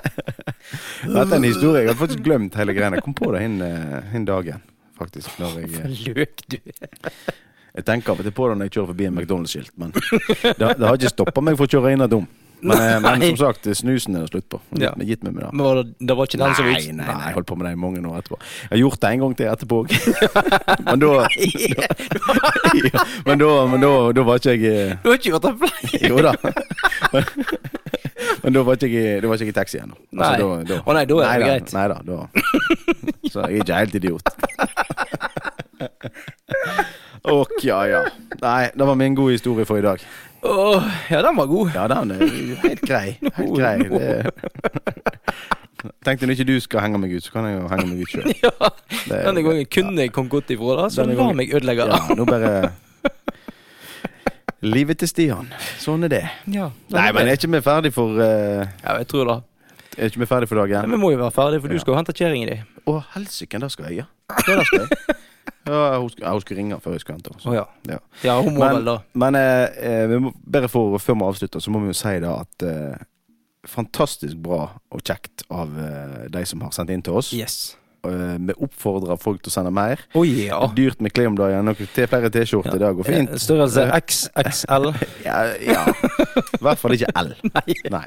Speaker 1: *laughs* Dette er en historie jeg hadde faktisk glemt hele greiene. Jeg kom på det hin, eh, hin dagen, faktisk. Når jeg, eh,
Speaker 2: *laughs* Løk, du er.
Speaker 1: jeg tenker av og til på det når jeg kjører forbi en McDonald's-skilt, men det, det har ikke stoppa meg for å kjøre inn av dum. Men, eh, men
Speaker 2: Nei.
Speaker 1: som sagt, snusen er det slutt på.
Speaker 2: Ja.
Speaker 1: Gitt meg- Gitt meg med det.
Speaker 2: Men var det, det var ikke den som
Speaker 1: Nei, nei, nei, jeg holdt på med det i mange år etterpå. Jeg har gjort det en gang til etterpå òg. *laughs* men da, *laughs* ja, men, da, men da, da var ikke jeg eh,
Speaker 2: Du har ikke gjort den
Speaker 1: *laughs*
Speaker 2: flau?
Speaker 1: Jo da. Men, men da var ikke jeg, i- da var ikke jeg i taxi ennå.
Speaker 2: Nei. Å nei, da er det
Speaker 1: nei,
Speaker 2: greit.
Speaker 1: Da, nei da, da. Så jeg er ikke helt idiot. Ok, ja, ja. Nei, det var min gode historie for i dag.
Speaker 2: Åh, ja, den var god.
Speaker 1: Ja, den er helt grei. Helt grei. Det... Tenkte når ikke du skal henge meg ut, så kan jeg jo henge meg ut sjøl.
Speaker 2: *laughs* *laughs* Ja,
Speaker 1: er-
Speaker 2: Denne gangen kunne jeg kommet godt ifra, da, så
Speaker 1: Denne
Speaker 2: la
Speaker 1: gangen-
Speaker 2: meg ødelegge det.
Speaker 1: Ja, nå bare Livet til Stian. Sånn er det.
Speaker 2: *laughs* Ja.
Speaker 1: Nei, men er ikke vi ferdig for eh,
Speaker 2: Ja, jeg tror det.
Speaker 1: Er ikke vi ferdig for
Speaker 2: Men
Speaker 1: dagen?
Speaker 2: Vi må jo være ferdige, for du
Speaker 1: Ja.
Speaker 2: skal jo hente kjerringa di.
Speaker 1: Å, helsike, det skal jeg, ja. Det der skal jeg. Ja, hun skal, ja, hun skal ringe før jeg skal hente henne. altså.
Speaker 2: Å
Speaker 1: så.
Speaker 2: ja.
Speaker 1: Ja.
Speaker 2: ja, hun må vel
Speaker 1: Men,
Speaker 2: da.
Speaker 1: men eh, eh, vi må, bare for, før vi avslutter, så må vi jo si da at eh, Fantastisk bra og kjekt av eh, de som har sendt inn til oss.
Speaker 2: Yes.
Speaker 1: Eh, vi oppfordrer folk til å sende mer.
Speaker 2: Å ja.
Speaker 1: Dyrt med klær om dagen. Noen te- Flere T-skjorter, det går fint.
Speaker 2: Eh, Størrelse XXL.
Speaker 1: Ja, ja. I hvert fall ikke
Speaker 2: *laughs*
Speaker 1: L. Nei.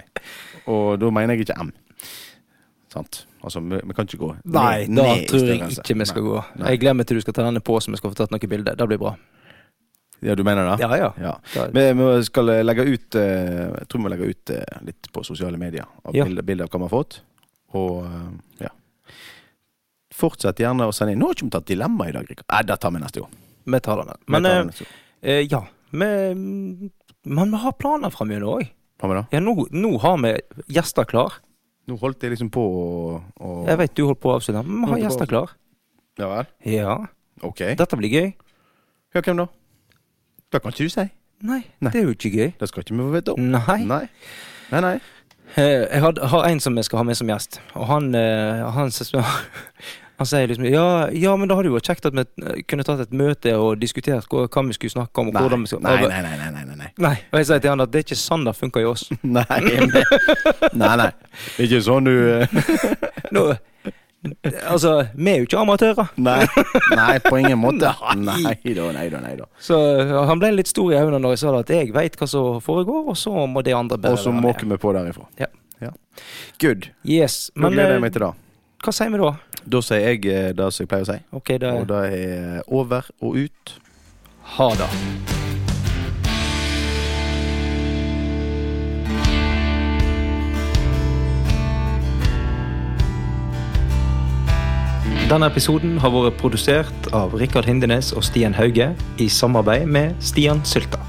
Speaker 1: Og da mener jeg ikke M. Sant. Altså, vi, vi kan ikke gå *laughs* ned-
Speaker 2: Nei, da
Speaker 1: ned i
Speaker 2: tror jeg
Speaker 1: størrelse.
Speaker 2: ikke vi skal
Speaker 1: Nei.
Speaker 2: gå.
Speaker 1: Nei.
Speaker 2: Jeg glemmer til du skal ta denne på, så vi skal få tatt noen bilder. Det blir bra.
Speaker 1: Ja, du mener det?
Speaker 2: Ja, ja.
Speaker 1: Ja.
Speaker 2: Da-
Speaker 1: Vi, vi skal eh, legge ut eh, Jeg tror vi legger ut eh, litt på sosiale medier av
Speaker 2: Ja.
Speaker 1: bilder, bilder av hva vi har fått. Og eh, ja. Fortsett gjerne å sende inn. Nå har ikke vi tatt dilemma i dag, Rikard. Nei, det tar vi neste gang.
Speaker 2: Vi tar denne.
Speaker 1: Det
Speaker 2: Men
Speaker 1: tar vi
Speaker 2: eh,
Speaker 1: neste gang.
Speaker 2: eh, ja. Vi, men vi har planer framover òg.
Speaker 1: Hva med det?
Speaker 2: Ja, nå, nå har vi gjester klar.
Speaker 1: Nå holdt jeg liksom på å å-
Speaker 2: Jeg vet du holdt på å avslutte, men vi har gjester klar.
Speaker 1: Ja vel?
Speaker 2: Ja.
Speaker 1: OK.
Speaker 2: Dette blir gøy.
Speaker 1: Ja, hvem da? Det kan ikke du si.
Speaker 2: Nei,
Speaker 1: Nei.
Speaker 2: det er jo ikke gøy.
Speaker 1: Det skal ikke vi få vite om.
Speaker 2: Nei.
Speaker 1: Nei. Nei, nei.
Speaker 2: Eh, Jeg har, har en som jeg skal ha med som gjest, og han, eh, han, s- *laughs* han sier liksom ja, ja, men da hadde det jo vært kjekt at vi eh, kunne tatt et møte og diskutert hva, hva vi skulle snakke om. Og hvordan vi skal,
Speaker 1: nei, nei, nei, nei, nei, nei, nei.
Speaker 2: Nei, og jeg sier til han at det er ikke sånn det funker i *laughs* oss.
Speaker 1: *laughs* Nei, men- nei, nei. Ikke sånn du eh,
Speaker 2: Nå, altså, vi er jo ikke amatører.
Speaker 1: Nei, nei på ingen måte. *laughs* Nei da, nei da, nei da.
Speaker 2: Så eh, han ble litt stor i øynene når jeg sa det at jeg veit hva som foregår, og så må de andre
Speaker 1: Og så
Speaker 2: være
Speaker 1: måker vi på derifra.
Speaker 2: Ja.
Speaker 1: Good.
Speaker 2: Yes,
Speaker 1: Nå
Speaker 2: men
Speaker 1: gleder jeg meg
Speaker 2: eh,
Speaker 1: til det.
Speaker 2: hva sier vi da?
Speaker 1: Da sier jeg eh, det som jeg pleier å si,
Speaker 2: Ok, da
Speaker 1: og det er over og ut.
Speaker 2: ha det. Denne episoden har vært produsert av Rikard Hindenes og Stian Hauge i samarbeid med Stian Sylta.